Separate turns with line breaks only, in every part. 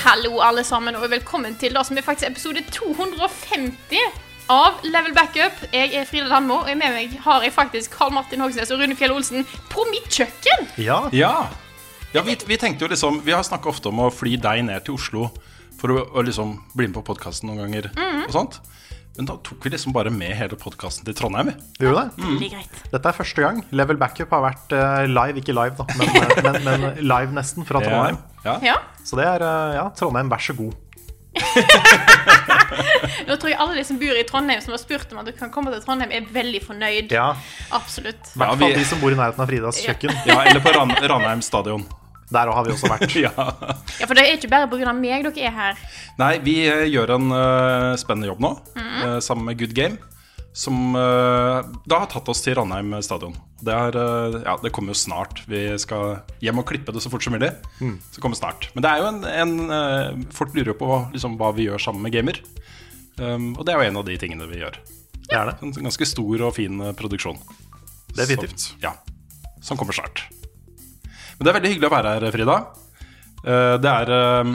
Hallo, alle sammen, og velkommen til det som er faktisk episode 250 av Level Backup. Jeg er Frida Danmo, og med meg har jeg faktisk Karl Martin Hogsnes og Rune Fjell Olsen på mitt kjøkken.
Ja.
Ja, ja vi, vi tenkte jo liksom Vi har snakket ofte om å fly deg ned til Oslo For å, å liksom bli med på podcasten noen ganger Og sånt Men da tok vi liksom bare med hele podcasten til Trondheim vi.
Du gjorde det?
Mm.
Dette er første gang. Level Backup har vært eh, live, ikke live, da, men, eh, men, men live nesten fra Trondheim.
ja.
Ja,
Så det er eh, ja, Trondheim, vær så god.
Nå tror jeg alle de som bor i Trondheim, som har spurt om at du kan komme til Trondheim, er veldig fornøyd.
Ja,
Absolutt.
I hvert
Ja, vi-
fall de som bor i nærheten av Fridas kjøkken.
ja, eller på Ran Ranheim stadion
Der har vi også vært.
ja.
Ja, For det er ikke bare pga. meg dere er her.
Nei, vi eh, gjør en eh, spennende jobb nå eh, Sammen med Good Game Som eh, da har tatt oss til Ranheim stadion det, er, eh, ja, det kommer jo snart Vi skal hjem og klippe det så fort som mulig Så kommer snart Men det er jo en, en eh, Folk lurer jo på hva- liksom, hva vi gjør sammen med gamer um, Og det er jo en av de tingene vi gjør
Det er det.
En ganske stor og fin eh, produksjon.
Definitivt.
Som, ja, som kommer snart. Men det er veldig hyggelig å være her, Frida. Eh, Det er eh,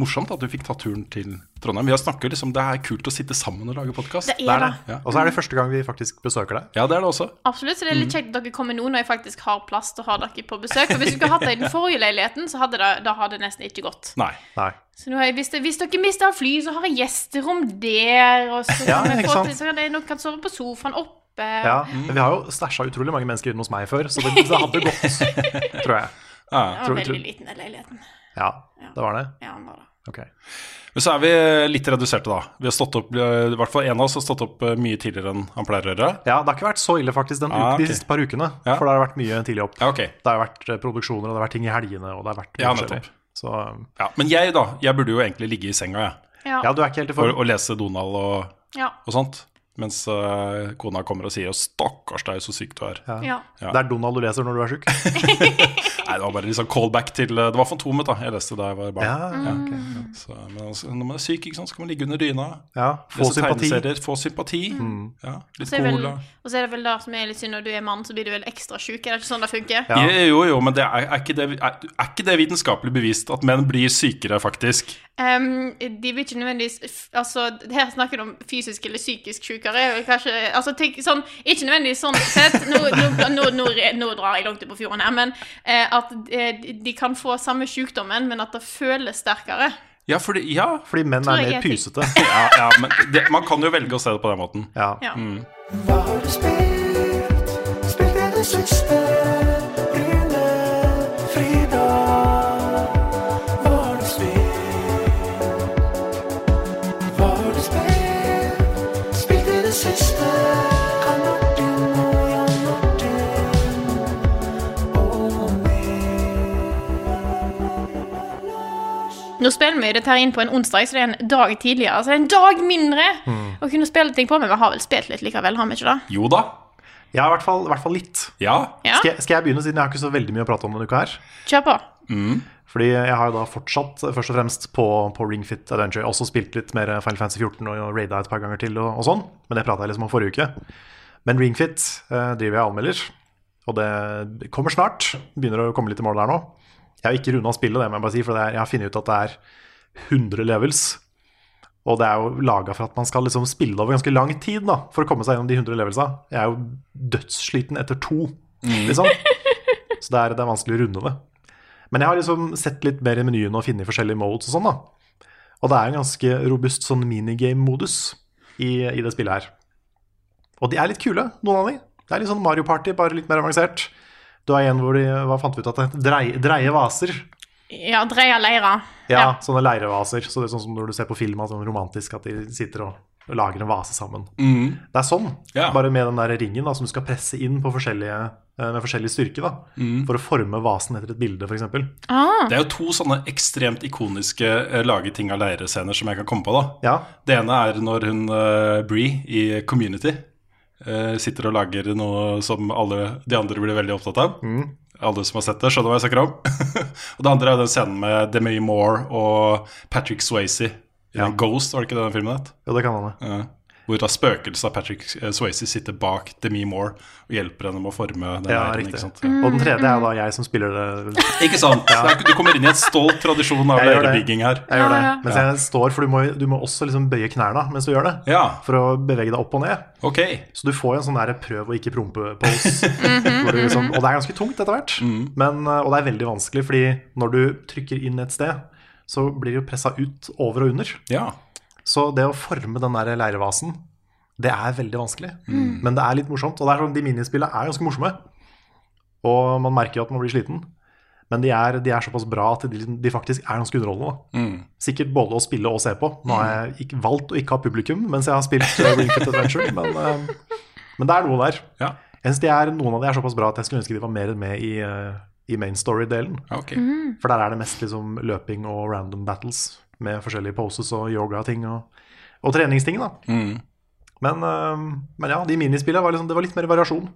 morsomt at du fikk ta turen til Trondheim. Vi har snakket liksom, Det er kult å sitte sammen og lage podkast.
Det er det.
Ja.
Og så er det første gang vi faktisk besøker deg.
ja, det er det også.
Absolutt, så det er
Mm.
litt kjekt at dere kommer nå når jeg faktisk har plass til å ha dere på besøk. For hvis dere hadde hatt det i den forrige leiligheten, så hadde det, da hadde det nesten ikke gått.
Nei.
Nei.
Så nå har jeg, hvis, det, hvis dere mister av fly, så har jeg gjesterom der. Og så
Ja,
kan vi
ikke
få
sant?
til- så kan jeg- noen kan sove på sofaen oppe.
Ja,
Mm.
men vi har jo stæsja utrolig mange mennesker inne hos meg før, så det, det hadde gått, tror jeg.
Ja.
Den var
tror-
veldig
tror-
liten, den leiligheten.
Ja, det var det.
Ja, den var det.
Ok.
Men så er vi eh, litt reduserte, da. Vi har stått opp, eh, I hvert fall en av oss har stått opp eh, mye tidligere enn han pleier å gjøre.
Ja, det har ikke vært så ille faktisk den
Ah,
uke,
ok.
de siste par ukene,
Ja.
for det har vært mye tidlig opp.
Ja, ok.
Det har vært eh, produksjoner, og det har vært ting i helgene, og det har vært mye
Ja,
forskjellig.
nettopp.
Så
Ja, men jeg, da. Jeg burde jo egentlig ligge i senga, jeg.
Ja.
ja, du er ikke helt i
For
form.
å lese Donald og
Ja.
og sånt. Mens eh, kona kommer og sier 'stakkars deg, så syk du er'.
ja.
Det er Donald du leser når du er sjuk.
Nei, Det var bare litt sånn callback til eh, Det var Fantomet, da. Jeg leste da jeg var barn.
Ja, ok.
Så, men altså, når man er syk, ikke sant, så kan man ligge under dyna.
ja. Få
lese
sympati. Mm.
tegneserier, Få sympati. Ja, litt
Så er Altså, vel,
cola.
og så er det vel det som er litt synd når du er mann, så blir du vel ekstra sjuk. Er det ikke sånn det funker?
Ja.
Jo, Jo, jo, men det er, er, ikke det, er, er ikke det vitenskapelig bevist at menn blir sykere, faktisk?
Ehm, de blir ikke nødvendigvis f- Altså, her snakker du om fysisk eller psykisk sjukere. Kanskje Altså, tenk sånn Ikke nødvendigvis sånn sett. Nå, nå, nå, nå, re- nå drar jeg langt ut på fjorden her, men eh, at eh, de- de kan få samme sjukdommen, men at det føles sterkere.
Ja, fordi, ja,
Fordi menn
Tror
er
jeg
mer
jeg fikk-
pysete.
ja, ja men det, man kan jo velge å se det på den måten.
Ja.
Ja. Nå spiller vi dette her inn på en onsdag, så det er en dag tidligere. Så det er en dag mindre
Mm.
å kunne spille ting på, men vi har vel spilt litt likevel, har vi ikke det?
Jo da.
Ja, i hvert fall, i hvert fall litt.
Ja.
Ja,
Skal, jeg, skal jeg begynne, siden jeg har ikke så veldig mye å prate om denne uka her?
kjør på.
Fordi jeg har jo da fortsatt eh, først og fremst på, på Ring Fit Adventure. Jeg har Også spilt litt mer Final Fantasy 14 og og raida et par ganger til og, og sånn. Men det prata jeg liksom om forrige uke. Men Ring Fit eh, driver jeg og anmelder, og det kommer snart. Begynner å komme litt i mål der nå. Jeg har ikke runda spillet, det må jeg bare si, for det er, jeg har funnet ut at det er 100 levels. Og det er jo laga for at man skal liksom spille over ganske lang tid da, for å komme seg gjennom de 100 levelsa. Jeg er jo dødssliten etter to, liksom. Så det er, det er vanskelig å runde det. Men jeg har liksom sett litt mer i menyen og funnet forskjellige modes og sånn, da. Og det er en ganske robust sånn minigame-modus i, i det spillet her. Og de er litt kule, noen av de. Det er litt sånn Mario Party, bare litt mer avansert. Du har en hvor de hva fant vi ut at det het? Dreie, dreie vaser.
Ja, dreie leirer.
Ja,
Ja.
sånne leirevaser. Så det er sånn som når du ser på film, at sånn romantisk at de sitter og lager en vase sammen.
Mm.
Det er sånn,
Ja.
bare med den der ringen da, som du skal presse inn på forskjellige, eh, med forskjellig styrke. da,
Mm.
For å forme vasen etter et bilde, f.eks.
Ah,
Det er jo to sånne ekstremt ikoniske eh, lage ting av leirescener som jeg kan komme på. da.
Ja,
Det ene er når hun eh, Bree i Community eh, sitter og lager noe som alle de andre blir veldig opptatt av.
Mm.
Alle som har sett det, skjønner hva jeg snakker om. og det andre er den scenen med Demi Moore og Patrick Swayze i
Ja.
den Ghost, var det ikke det den filmen het?
jo, det kan hende.
Ja. Hvor da spøkelset av Patrick eh, Swayze sitter bak Demi Moore og hjelper henne med å forme den
Ja,
leiren.
riktig.
Ikke sant?
Mm.
Og den tredje er da jeg som spiller det.
Ikke sant? Det er ikke- Du kommer inn i en stolt tradisjon av
Jeg gjør det.
leirebygging her.
Jeg gjør det.
Ja, ja.
Mens jeg står, for du må, du må også liksom bøye knærne mens du gjør det.
Ja.
For å bevege deg opp og ned.
Ok.
Så du får jo en sånn der prøv å ikke prompe-pose. hvor du
Mhm.
liksom, og det er ganske tungt etter hvert. Men, eh, og det er veldig vanskelig, fordi når du trykker inn et sted, så blir det jo pressa ut over og under.
Ja.
Så det å forme den der leirevasen, det er veldig vanskelig. Men det er litt morsomt. Og det er sånn, de minispillene er ganske morsomme. Og man merker jo at man blir sliten. Men de er, de er såpass bra at de, liksom- de faktisk er ganske underholdende. da.
Mm.
Sikkert både å spille og se på. Nå har jeg ikke, valgt å ikke ha publikum mens jeg har spilt eh, Ring Fit Adventure, men, eh, men det er noe der.
Ja.
Jeg synes de er, Noen av de er såpass bra at jeg skulle ønske de var mer med i, eh, i main story-delen.
Ja, Ok.
For der er det mest liksom løping og random battles med forskjellige poses og yoga-ting og, og treningsting, da.
Mm.
Men, øhm, men ja, de minispillene var, liksom, det var litt mer variasjon.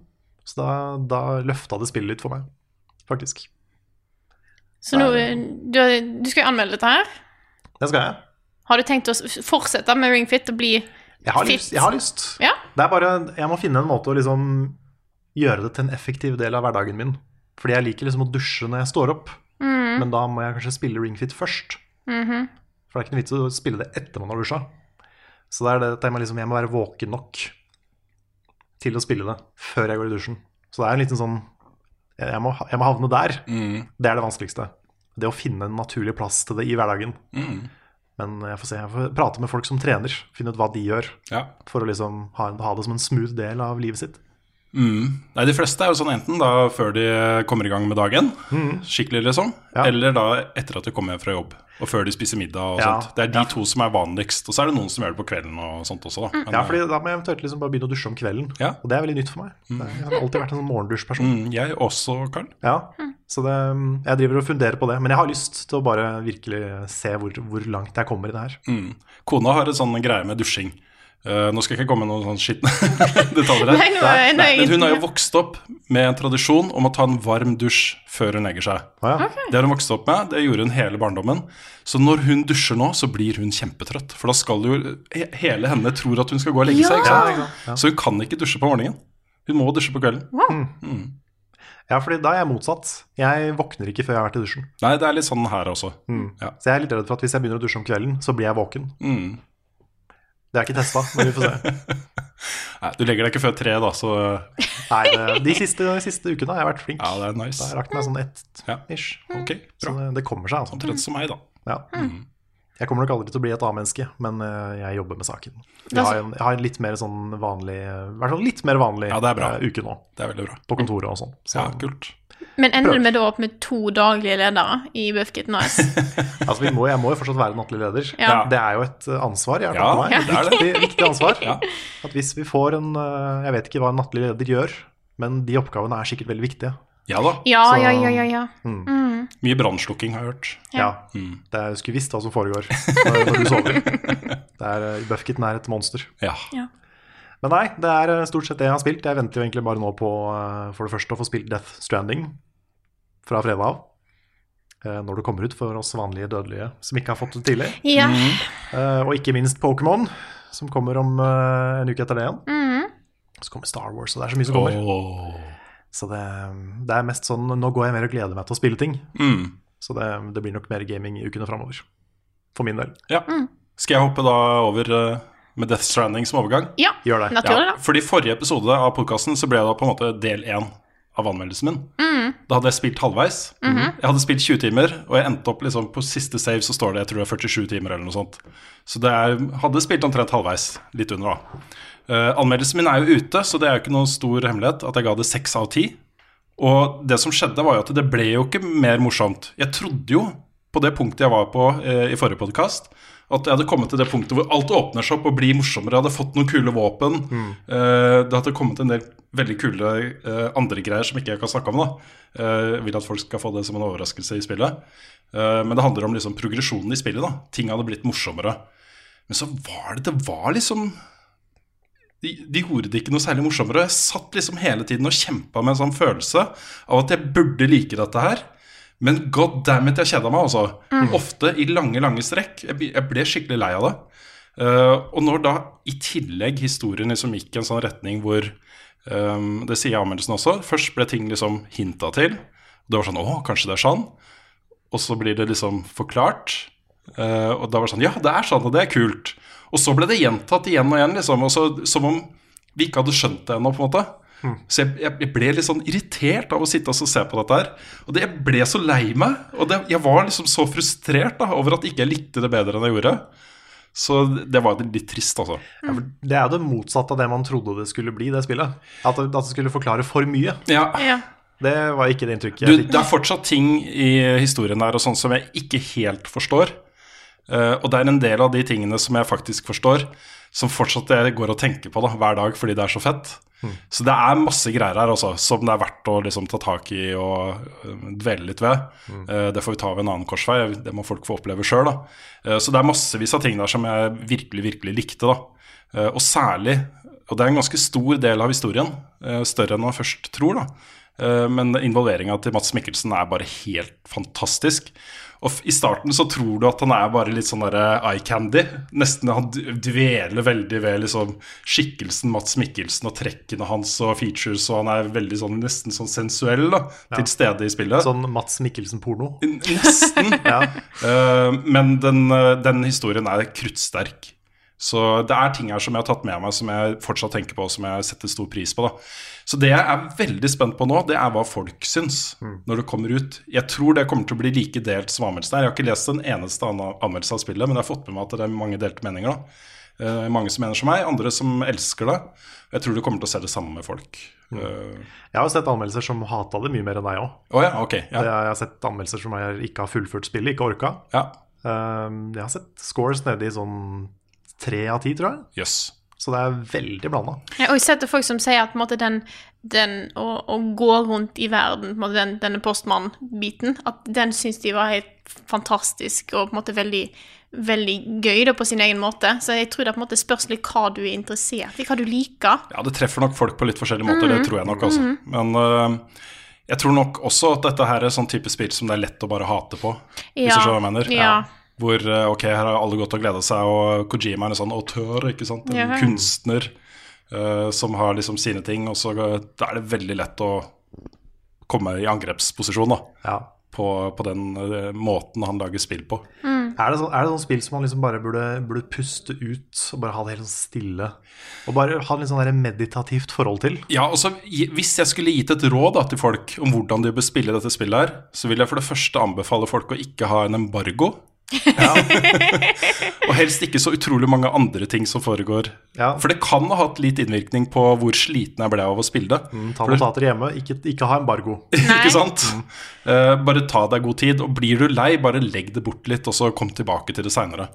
Så da, da løfta det spillet litt for meg, faktisk.
så nå, du, du skal jo anmelde dette her.
Det skal jeg.
Har du tenkt å s- fortsette med Ring Fit og bli
Jeg har
Fit.
lyst. Jeg, har lyst.
Ja.
Det er bare, jeg må finne en måte å liksom gjøre det til en effektiv del av hverdagen min. Fordi jeg liker liksom å dusje når jeg står opp,
Mm.
men da må jeg kanskje spille Ringfit først.
Mm-hmm.
For det er ikke noe vits å spille det etter man har dusja. Så det er det, at jeg må liksom, jeg må være våken nok til å spille det før jeg går i dusjen. Så det er en liten sånn Jeg må, jeg må havne der.
Mm.
Det er det vanskeligste. Det å finne en naturlig plass til det i hverdagen. Men jeg får se. Jeg får prate med folk som trener, finne ut hva de gjør
Ja.
for å liksom ha, ha det som en smooth del av livet sitt.
Mm. Nei, de fleste er jo sånn enten da før de eh, kommer i gang med dagen, skikkelig liksom,
Mhm. Ja.
eller da etter at de kommer hjem fra jobb, og før de spiser middag og
Ja. Mm.
sånt. Det er de to som er vanligst, og så er det noen som gjør det på kvelden og sånt også da. Men,
Ja, fordi Da må jeg eventuelt liksom bare begynne å dusje om kvelden,
Ja.
og det er veldig nytt for meg. Det- Jeg har alltid vært en sånn morgendusjperson.
Mm, jeg også, Karl.
Ja, så det, mm, jeg driver og funderer på det. Men jeg har lyst til å bare virkelig se hvor, hvor langt jeg kommer i det her.
Mm. Kona har en sånn greie med dusjing. Eh, nå skal jeg ikke komme med noen sånn skitne detaljer her.
Nei, nå er- nå er jeg
men hun har jo
ikke-
vokst opp med en tradisjon om å ta en varm dusj før hun legger seg.
Å ja.
Det har hun vokst opp med, det gjorde hun hele barndommen. Så når hun dusjer nå, så blir hun kjempetrøtt. For da skal jo he- hele henne tror at hun skal gå og legge seg. Ikke sant? Så hun kan ikke dusje på morgenen. Hun må dusje på kvelden.
ja, fordi da er jeg motsatt. Jeg våkner ikke før jeg har vært i dusjen. Mm.
Nei, det er litt sånn her også. Ja.
Så jeg er litt redd for at hvis jeg begynner å dusje om kvelden, så blir jeg våken.
Mm.
Det er ikke testa, men vi får se.
Nei, du legger deg ikke før tre, da, så
Nei, det, de siste, de siste ukene har jeg vært flink.
ja, det er
Da har
nice.
jeg lagt meg sånn ett
Ja.
ish.
Ok,
Så
bra.
det, det kommer seg, altså.
Omtrent som meg, da.
Ja.
Mm.
Mm.
Jeg kommer nok aldri til å bli et A-menneske, men eh, jeg jobber med saken. Jeg
Da-
har en, jeg har en litt mer sånn vanlig eh, I hvert fall litt mer vanlig
Ja, det er bra.
eh, uke nå,
Det er veldig bra.
på kontoret og sånn. Så,
Ja, kult.
Men ender
Prøv.
du med da opp med to daglige ledere i Bufkit Nice?
altså, vi må, jeg må jo fortsatt være nattlig leder.
Ja.
Det er jo et eh, ansvar jeg har
Ja,
tatt på meg.
det er
Et
det.
viktig, viktig ansvar.
Ja.
At hvis vi får en eh, Jeg vet ikke hva en nattlig leder gjør, men de oppgavene er sikkert veldig viktige.
Ja da.
Ja,
Så-
ja, ja, ja, ja.
Mye brannslukking har jeg hørt.
Ja.
Mm.
Det er, jeg skulle visst hva som foregår når, når du sover. Det er, eh, Buffkitten er et monster.
Ja.
Men nei, det er eh, stort sett det jeg har spilt. Jeg venter jo egentlig bare nå på eh, for det første å få spilt Death Stranding fra fredag av. Eh, Når det kommer ut for oss vanlige dødelige som ikke har fått det tidlig.
Ja.
Eh, Og ikke minst Pokémon, som kommer om eh, en uke etter det igjen. Så kommer Star Wars, og det er så mye som kommer.
Åh.
Så det, det er mest sånn Nå går jeg mer og gleder meg til å spille ting.
Mm.
Så det, det blir nok mer gaming i ukene framover. For min del.
Ja. Skal jeg hoppe da over eh, med Death Stranding som overgang?
ja.
Gjør det.
Naturlig, da.
Fordi forrige episode av podkasten så ble det da på en måte del én av anmeldelsen min. Da hadde jeg spilt halvveis. Jeg hadde spilt 20 timer, og jeg endte opp liksom på siste save så står det jeg tror det er 47 timer eller noe sånt. Så det er, hadde spilt omtrent halvveis. Litt under, da. Eh, anmeldelsen min er jo ute, så det er jo ikke noen stor hemmelighet at jeg ga det seks av ti. Og det som skjedde, var jo at det ble jo ikke mer morsomt. Jeg trodde jo, på det punktet jeg var på eh, i forrige podkast, at jeg hadde kommet til det punktet hvor alt åpner seg opp og blir morsommere. Jeg hadde fått noen kule våpen. Eh, det hadde kommet en del veldig kule eh, andre greier som ikke jeg kan snakke om. da. Eh, jeg vil at folk skal få det som en overraskelse i spillet. Eh, men det handler om liksom, progresjonen i spillet. da. Ting hadde blitt morsommere. Men så var det Det var liksom de, de gjorde det ikke noe særlig morsommere. Jeg satt liksom hele tiden og kjempa med en sånn følelse av at jeg burde like dette her. Men god damn it, jeg kjeda meg, altså. Ofte i lange, lange strekk. Jeg, bli- jeg ble skikkelig lei av det. Eh, og når da i tillegg historien liksom gikk i en sånn retning hvor eh, Det sier jeg i anmeldelsen også. Først ble ting liksom hinta til. Det var sånn Å, kanskje det er sånn. Og så blir det liksom forklart. Eh, og da var det sånn Ja, det er sånn, og det er kult. Og så ble det gjentatt igjen og igjen, liksom. Og så, som om vi ikke hadde skjønt det ennå, på en måte. Så jeg, jeg- jeg ble litt sånn irritert av å sitte og så se på dette her. Og det, jeg ble så lei meg. Og det, jeg var liksom så frustrert da, over at ikke jeg likte det bedre enn jeg gjorde. Så det var litt trist, altså.
Det er jo det motsatte av det man trodde det skulle bli, det spillet. At det, at det skulle forklare for mye.
Ja,
Ja.
Det var ikke det inntrykket
Du,
jeg fikk.
det er fortsatt ting i historien her og sånn som jeg ikke helt forstår. Eh, og det er en del av de tingene som jeg faktisk forstår, som fortsatt jeg går og tenker på da, hver dag fordi det er så fett.
Mm.
Så det er masse greier her også, som det er verdt å liksom, ta tak i og eh, dvele litt ved.
Mm.
Eh, det får vi ta ved en annen korsvei, det må folk få oppleve sjøl. Uh, så det er massevis av ting der som jeg virkelig, virkelig likte. da. Eh, og særlig, og det er en ganske stor del av historien, eh, større enn man først tror, da. Eh, men involveringa til Mats Mikkelsen er bare helt fantastisk. Og f- I starten så tror du at han er bare litt sånn derre eye candy. Nesten Han d- dveler veldig ved liksom skikkelsen Mats Mikkelsen og trekkene hans og features, og han er veldig sånn nesten sånn sensuell da, til stede i spillet.
Sånn Mats Mikkelsen-porno.
Nesten. Eh, men den, eh, den historien er kruttsterk. Så det er ting her som jeg har tatt med meg, som jeg fortsatt tenker på, og som jeg setter stor pris på. da. Så det jeg er veldig spent på nå, det er hva folk syns når det kommer ut. Jeg tror det kommer til å bli like delt som anmeldelsen er. Jeg har ikke lest en eneste annen anmeldelse av spillet, men jeg har fått med meg at det er mange delte meninger. da. Eh, mange som mener som meg, andre som elsker det. Jeg tror du kommer til å se det samme med folk. Å
Jeg har sett anmeldelser som hata det mye mer enn deg òg.
ja, ok. Ja.
Jeg har sett anmeldelser som er- ikke har fullført spillet, ikke orka.
ja.
Um, jeg har sett scores nede i sånn tre av ti, tror jeg.
Jøss.
Så det er veldig blanda.
Ja, og jeg setter folk som sier at på en måte, den, den å, å gå rundt i verden, på en måte, den, denne postmann-biten, at den syns de var helt fantastisk og på en måte veldig, veldig gøy da, på sin egen måte. Så jeg tror det på en måte spørs litt hva du er interessert i, hva du liker.
Ja, det treffer nok folk på litt forskjellige måter,
Mm.
det tror jeg nok også. Men øh, jeg tror nok også at dette her er sånn type spill som det er lett å bare hate på, hvis
Ja,
du skjønner hva jeg mener.
ja.
Hvor øh, ok, her har alle gått og gleda seg, og Kojima er en sånn autør, ikke sant, en
Ja.
kunstner øh, som har liksom sine ting, og så øh, da er det veldig lett å komme i angrepsposisjon da,
Ja.
på, på den øh, måten han lager spill på.
Er det, sånn, er det sånn spill som man liksom bare burde, burde puste ut og bare ha det helt sånn stille? Og bare ha litt sånn der meditativt forhold til?
Ja, og så gi- Hvis jeg skulle gitt et råd da, til folk om hvordan de bør spille dette spillet, her, så vil jeg for det første anbefale folk å ikke ha en embargo. og helst ikke så utrolig mange andre ting som foregår.
Ja.
For det kan ha hatt litt innvirkning på hvor sliten jeg ble av å spille det.
Ta notater hjemme, ikke, ikke ha embargo.
ikke sant? Eh, bare ta deg god tid, og blir du lei, bare legg det bort litt, og så kom tilbake til det seinere.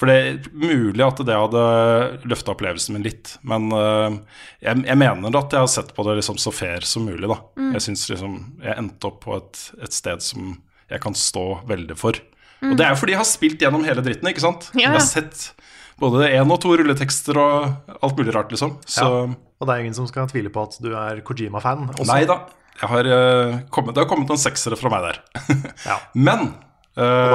For det er mulig at det hadde løfta opplevelsen min litt, men eh, jeg, jeg mener at jeg har sett på det liksom så fair som mulig, da.
Mm.
Jeg syns liksom jeg endte opp på et, et sted som jeg kan stå veldig for. Og det er jo fordi jeg har spilt gjennom hele dritten, ikke sant?
Mm. Ja, ja.
Jeg har sett både én og to rulletekster og alt mulig rart, liksom. Så
Og det er ingen som skal tvile på at du er Kojima-fan. også.
Nei da. Jeg har, eh, kommet, det har kommet noen seksere fra meg der.
Ja.
Men
Og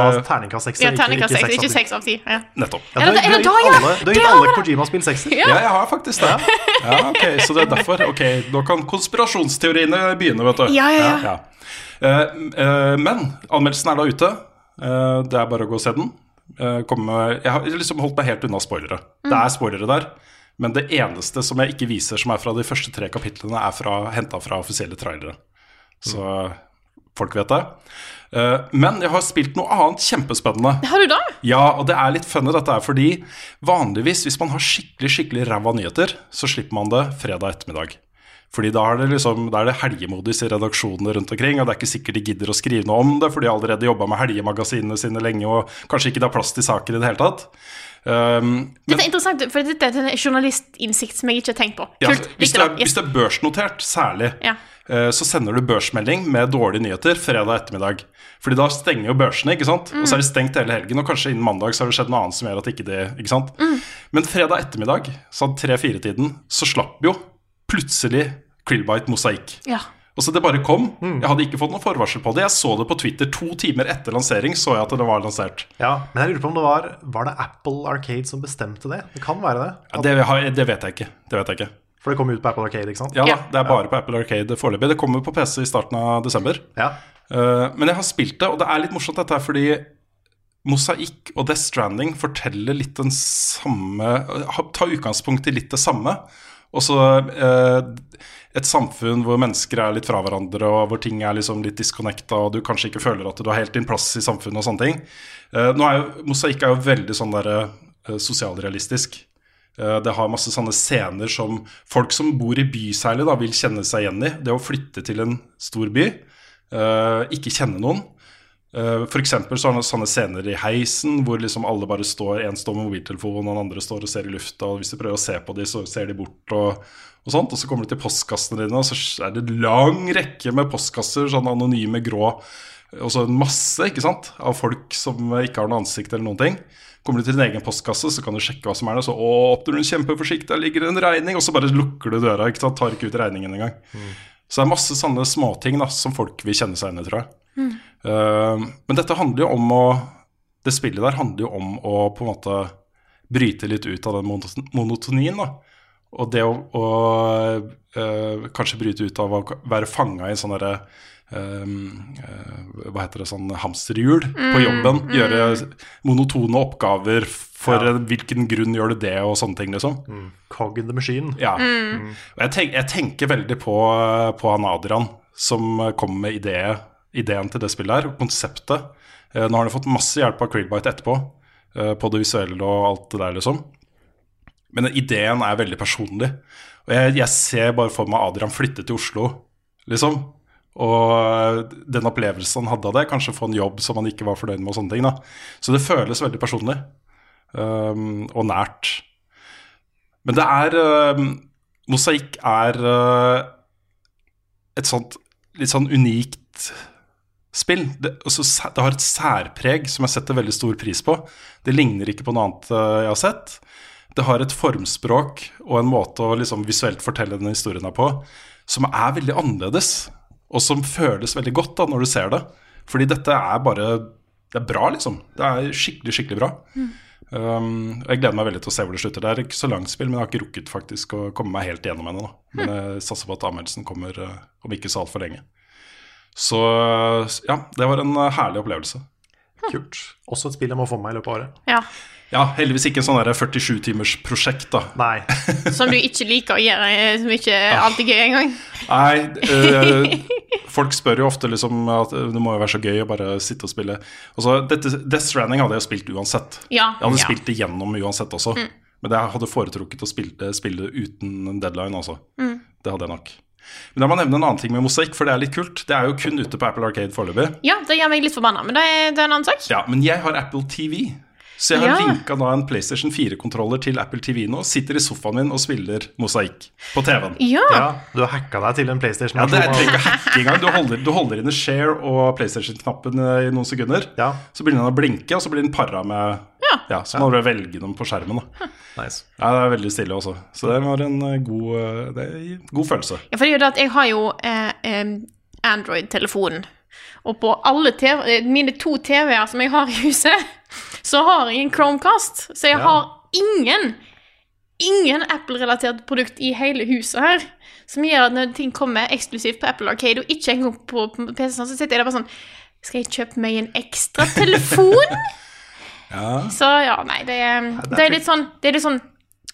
da
eh,
terningkast sekser,
Ja, terningkast seks, ikke
seks av ti.
seks av ti. Ja.
Nettopp.
Ja,
Eller-
du har-
eller
du har
da,
gitt
ja.
alle, du har
Det
gitt
har
alle Kojima-spill sekser.
Ja, jeg har faktisk det. Ja, ok, Så det er derfor. Ok, Nå kan konspirasjonsteoriene begynne, vet du.
Ja, ja, ja.
Eh, eh, men anmeldelsen er da ute. Eh, det er bare å gå og se den. Eh, komme- jeg har liksom holdt meg helt unna spoilere. Det
Mm.
er spoilere der. Men det eneste som jeg ikke viser som er fra de første tre kapitlene, er fra, henta fra offisielle trailere. Så
Mm.
folk vet det. Eh, men jeg har spilt noe annet kjempespennende.
Har du det?
Ja, og det er litt funny dette her, fordi vanligvis hvis man har skikkelig skikkelig ræva nyheter, så slipper man det fredag ettermiddag. Fordi da er det, liksom, da er det helgemodus i redaksjonene rundt omkring, og det er ikke sikkert de gidder å skrive noe om det, for de har allerede jobba med helgemagasinene sine lenge, og kanskje ikke det er plass til saker i det hele tatt. Um,
Dette er interessant, for dette er en journalistinnsikt som jeg ikke har tenkt på.
ja,
Kult.
hvis,
Likte
det er,
det.
hvis
Yes.
det er børsnotert, særlig,
Ja.
eh, så sender du børsmelding med dårlige nyheter fredag ettermiddag. Fordi da stenger jo børsene, ikke sant? og så er det stengt hele helgen. Og kanskje innen mandag så har det skjedd noe annet som gjør at ikke det ikke sant?
Mm.
Men fredag ettermiddag, sånn tre-fire-tiden, så slapp jo plutselig Krillbite mosaikk.
Ja.
Og så det bare kom. Jeg hadde ikke fått noe forvarsel på det. Jeg så det på Twitter to timer etter lansering. så jeg at det var lansert.
Ja, men jeg lurer på om det var Var det Apple Arcade som bestemte det? Det kan være det.
Ja, det, har- det vet jeg ikke. Det vet jeg ikke.
For det kom ut på Apple Arcade, ikke sant?
Ja,
Ja.
da, Det er bare på Apple Arcade foreløpig. Det kommer på PC i starten av desember.
Ja.
Eh, men jeg har spilt det, og det er litt morsomt dette her, fordi Mosaikk og Death Stranding forteller litt den samme ha- Tar utgangspunkt i litt det samme. Også eh, et samfunn hvor mennesker er litt fra hverandre, og hvor ting er liksom litt disconnecta, og du kanskje ikke føler at du har helt din plass i samfunnet og sånne ting. Eh, nå er jo, Mosaikk er jo veldig sånn der, eh, sosialrealistisk. Eh, Det har masse sånne scener som folk som bor i by særlig, da, vil kjenne seg igjen i. Det å flytte til en stor by, eh, ikke kjenne noen. Eh, For eksempel så har han sånne scener i heisen hvor liksom alle bare står, en står med mobiltelefonen, og den andre står og ser i lufta, og hvis du prøver å se på dem, så ser de bort og, og sånt. Og så kommer de til postkassene dine, og så er det en lang rekke med postkasser, sånn anonyme, grå, og så en masse ikke sant, av folk som ikke har noe ansikt eller noen ting. Kommer du til din egen postkasse, så kan du sjekke hva som er der. Så å, åpner du den kjempeforsiktig, der ligger det en regning, og så bare lukker du døra. ikke sant, Tar ikke ut regningen engang. Så det er masse sånne småting da, som folk vil kjenne seg igjen i, tror jeg. Eh, men dette handler jo om å Det spillet der handler jo om å på en måte bryte litt ut av den monoton- monotonien, da. Og det å, å eh, kanskje bryte ut av å være fanga i en sånn derre eh, eh, hva heter det, sånn hamsterhjul på jobben. Gjøre monotone oppgaver for
Ja.
eh, hvilken grunn gjør du det, og sånne ting, liksom.
Cog in the Machine.
Ja. Mm. Og jeg, tenk, jeg tenker veldig på, på han Adrian som kom med idé, ideen til det spillet her, konseptet. Eh, Nå har han jo fått masse hjelp av Krillbite etterpå, eh, på det visuelle og alt det der, liksom. Men ideen er veldig personlig. Og jeg, jeg ser bare for meg Adrian flytte til Oslo, liksom. Og eh, den opplevelsen han hadde av det, kanskje få en jobb som han ikke var fornøyd med. og sånne ting da. Så det føles veldig personlig um, og nært. Men det er um, Mosaikk er uh, et sånt litt sånn unikt spill. Det, altså, sæ- det har et særpreg som jeg setter veldig stor pris på. Det ligner ikke på noe annet eh, jeg har sett. Det har et formspråk og en måte å liksom visuelt fortelle denne historien her på som er veldig annerledes, og som føles veldig godt da når du ser det. Fordi dette er bare Det er bra, liksom. Det er skikkelig, skikkelig bra. Um, og jeg gleder meg veldig til å se hvor det slutter. Det er ikke så langt spill, men jeg har ikke rukket faktisk å komme meg helt gjennom ennå. da. Men jeg satser på at anmeldelsen kommer eh, om ikke så altfor lenge. Så ja, det var en eh, herlig opplevelse.
Kult. Også et spill jeg må få med meg i løpet av året.
ja.
Ja, heldigvis ikke en sånn 47-timersprosjekt, da.
Nei.
Som du ikke liker å gjøre, eh, som ikke er
Ah.
alltid gøy engang.
Nei, eh, folk spør jo ofte liksom at det må jo være så gøy å bare sitte og spille. Og så, dette, Death Stranding hadde jeg spilt uansett.
Ja,
jeg hadde
ja. Mm.
spilt det gjennom uansett også. Men jeg hadde foretrukket å spille, spille det uten en deadline, altså.
Mm.
Det hadde jeg nok. Men jeg må nevne en annen ting med mosaikk, for det er litt kult. Det er jo kun ute på Apple Arcade foreløpig.
Ja, det gjør meg litt forbanna, men det er, det er en annen sak.
Ja, men jeg har Apple TV. Så jeg har
Ja.
linka da en PlayStation 4-kontroller til Apple TV nå. Sitter i sofaen min og spiller mosaikk på TV-en.
Ja,
Ja, du har hacka deg til en PlayStation.
Ja, det er trenger ikke å hacke engang. Du holder, du holder inne share og PlayStation-knappen eh, i noen sekunder.
Ja.
Så begynner den å blinke, og så blir den para med
Ja.
så må du velge dem på skjermen. Da.
Nice.
Ja, det er veldig stille også. Så det var en eh, god, eh, det er en god følelse.
Ja, for det er jo det at jeg har jo eh, eh, Android-telefonen. Og på alle TV, eh, mine to TV-er som jeg har i huset, så har jeg en Chromecast. Så jeg har ingen, ingen Apple-relatert produkt i hele huset her. Som gjør at når ting kommer eksklusivt på Apple Arcade, og ikke engang på PC-en, så sitter jeg der bare sånn Skal jeg kjøpe meg en ekstra telefon? Så ja, nei, det er, det er litt sånn, det er litt sånn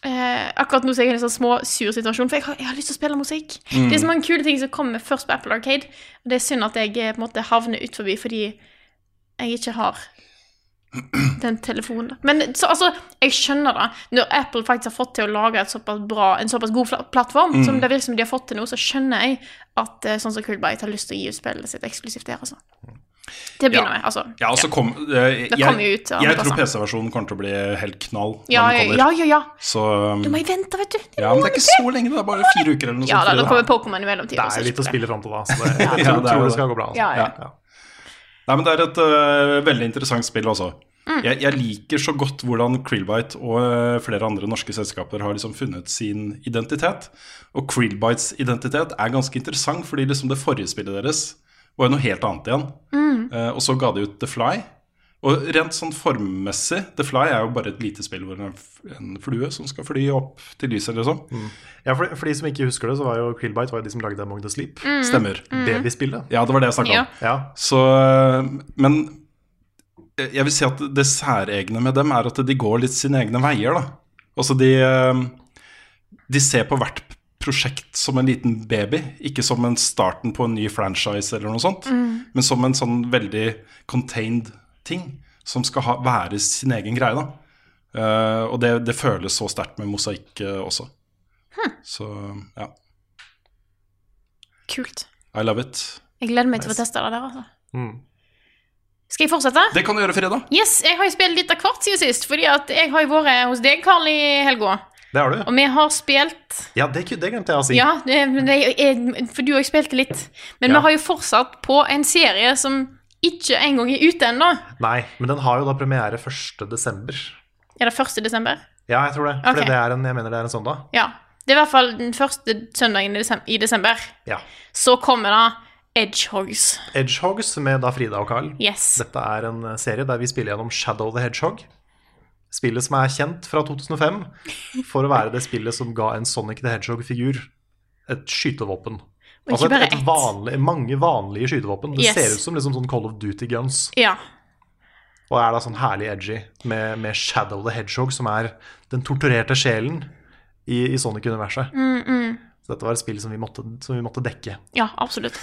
eh, Akkurat nå så er jeg i en sånn små sur situasjon, for jeg har, jeg har lyst til å spille musikk. Det er så mange kule ting som kommer først på Apple Arcade, og det er synd at jeg eh, på en måte havner ut forbi fordi jeg ikke har den telefonen. da. Men så, altså, jeg skjønner det. Når Apple faktisk har fått til å lage et såpass bra, en såpass god fla- plattform, som det virker som de har fått til nå, så skjønner jeg at eh, sånn som Coolbite har lyst til å gi ut spillet sitt eksklusivt der, altså. Til å begynne
Ja.
med, altså.
Ja, og så kom, eh,
Det
jeg,
kommer jo ut av
jeg
andre
tror
plasser.
PC-versjonen kommer til å bli helt knall når
Ja, ja,
den kommer.
ja, ja, ja.
Så um,
Da må jeg vente, vet du.
ja, men det er ikke så lenge, det er bare fire uker eller noe
Ja, da,
sånt.
da
tror jeg.
kommer Pokémon i mellomtiden.
Det
så
er litt å
ikke det.
spille fram til da, så det, jeg
Ja,
tror,
det er
tror
det.
det skal gå bra. Altså.
Ja, ja.
Nei, men det er et øh, veldig interessant spill, altså. Jeg, jeg liker så godt hvordan Krillbite og øh, flere andre norske selskaper har liksom funnet sin identitet. Og Krillbites identitet er ganske interessant, fordi liksom det forrige spillet deres var jo noe helt annet igjen. Eh, og så ga de ut The Fly. Og rent sånn formmessig The Fly er jo bare et lite spill hvor det er en f- en flue som skal fly opp til lyset, liksom.
Ja, for, for de som ikke husker det, så var jo Krillbite var jo de som lagde Among the Sleep.
Mm.
Stemmer.
Mm. Babyspillet.
Ja, det var det jeg snakka
Ja.
om.
Ja.
Så, men jeg vil si at det særegne med dem er at de går litt sine egne veier, da. Altså de, de ser på hvert prosjekt som en liten baby, ikke som en starten på en ny franchise eller noe sånt, men som en sånn veldig contained ting som skal ha, være sin egen greie, da. Eh, og det, det føles så sterkt med mosaikk eh, også. Så ja,
Kult.
I love it.
Jeg gleder meg til å teste det der, altså.
Mm.
Skal jeg fortsette?
Det kan du gjøre, Frida.
Yes, jeg har jo spilt litt av hvert siden sist, fordi at jeg har jo vært hos deg, Karl, i helga.
Det har du.
Og vi har spilt
Ja, det, ku- det glemte jeg å si.
Ja, det, men det er, for du og jeg spilte litt. Men
Ja.
vi har jo fortsatt på en serie som ikke engang er ute ennå.
Nei, men den har jo da premiere 1. desember.
Er det 1. desember?
Ja, jeg tror det. For
Ok.
det er en, jeg mener det er en sånn søndag.
Ja. Det er i hvert fall den første søndagen i desember. I desember.
Ja.
Så kommer da Edgehogs.
Edgehogs med da Frida og Carl.
Yes.
Dette er en eh, serie der vi spiller gjennom Shadow the Hedgehog. Spillet som er kjent fra 2005 for å være det spillet som ga en Sonic the Hedgehog-figur et skytevåpen.
Og
Altså
ikke
et,
bare
et
ett.
vanlig, mange vanlige skytevåpen. Det
Yes.
ser ut som liksom sånn Call of Duty guns.
Ja.
Og er da sånn herlig edgy med, med Shadow the Hedgehog, som er den torturerte sjelen i, i Sonic-universet.
Mm,
Så dette var et spill som vi måtte, som vi måtte dekke.
Ja, absolutt.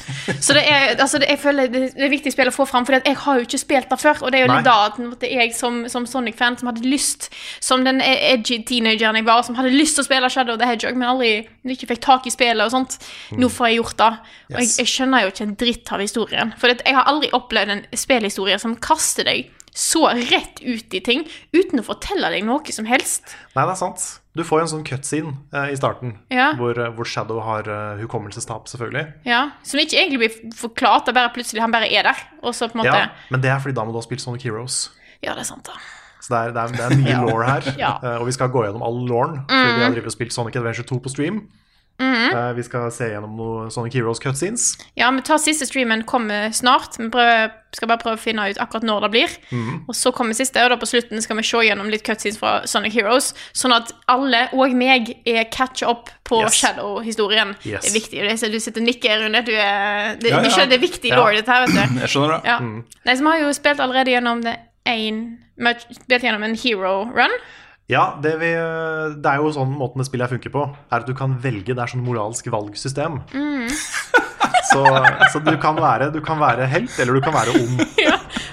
Så det er, altså det, jeg føler det, det er viktig spill å få fram, for jeg har jo ikke spilt det før. Og det er jo litt
Nei.
da at på en måte, jeg som, som Sonic-fan som hadde lyst, som den e-, edgy teenageren jeg var, som hadde lyst til å spille Shadow the Hedgehog, men aldri men ikke fikk tak i spillet og sånt, nå får jeg gjort det. Og
Mm.
jeg,
Yes.
jeg skjønner jo ikke en dritt av historien. For det, jeg har aldri opplevd en spillhistorie som kaster deg så rett ut i ting uten å fortelle deg noe som helst.
Nei, det er sant. Du får jo en sånn cutscene eh, i starten,
Ja.
hvor, hvor Shadow har eh, hukommelsestap, selvfølgelig.
Ja, Som ikke egentlig blir forklart, det er bare plutselig han bare er der. Og så på en måte
Ja, men det er fordi da må du ha spilt Sonic Heroes.
ja det er sant, da.
Så det er, det er, det er mye lore her.
Ja. Mhm.
eh, Og vi skal gå gjennom all loren, fordi vi har drevet og spilt Sonic Adventure 2 på stream. Eh, Vi skal se gjennom noe Sonic Heroes cutscenes.
Ja, vi tar siste streamen, kommer snart. Vi prøver, skal bare prøve å finne ut akkurat når det blir.
Mhm.
Og så kommer siste, og da på slutten skal vi se gjennom litt cutscenes fra Sonic Heroes, sånn at alle, og meg, er catcha opp på
Yes.
Shadow-historien.
Yes.
Det er viktig. Jeg ser Du sitter og nikker, Rune. Du er, det,
Ja,
Du
ja.
skjønner, det er viktig
Ja. Mm.
lore, dette her, vet du.
Jeg skjønner det.
Ja. Nei, så vi har jo spilt allerede gjennom det en, Vi har spilt gjennom en hero run.
Ja, det, vi, det er jo sånn måten det spillet her funker på, er at du kan velge. Det er sånn moralsk valgsystem.
Mhm.
så så du, kan være, du kan være helt, eller du kan være ond.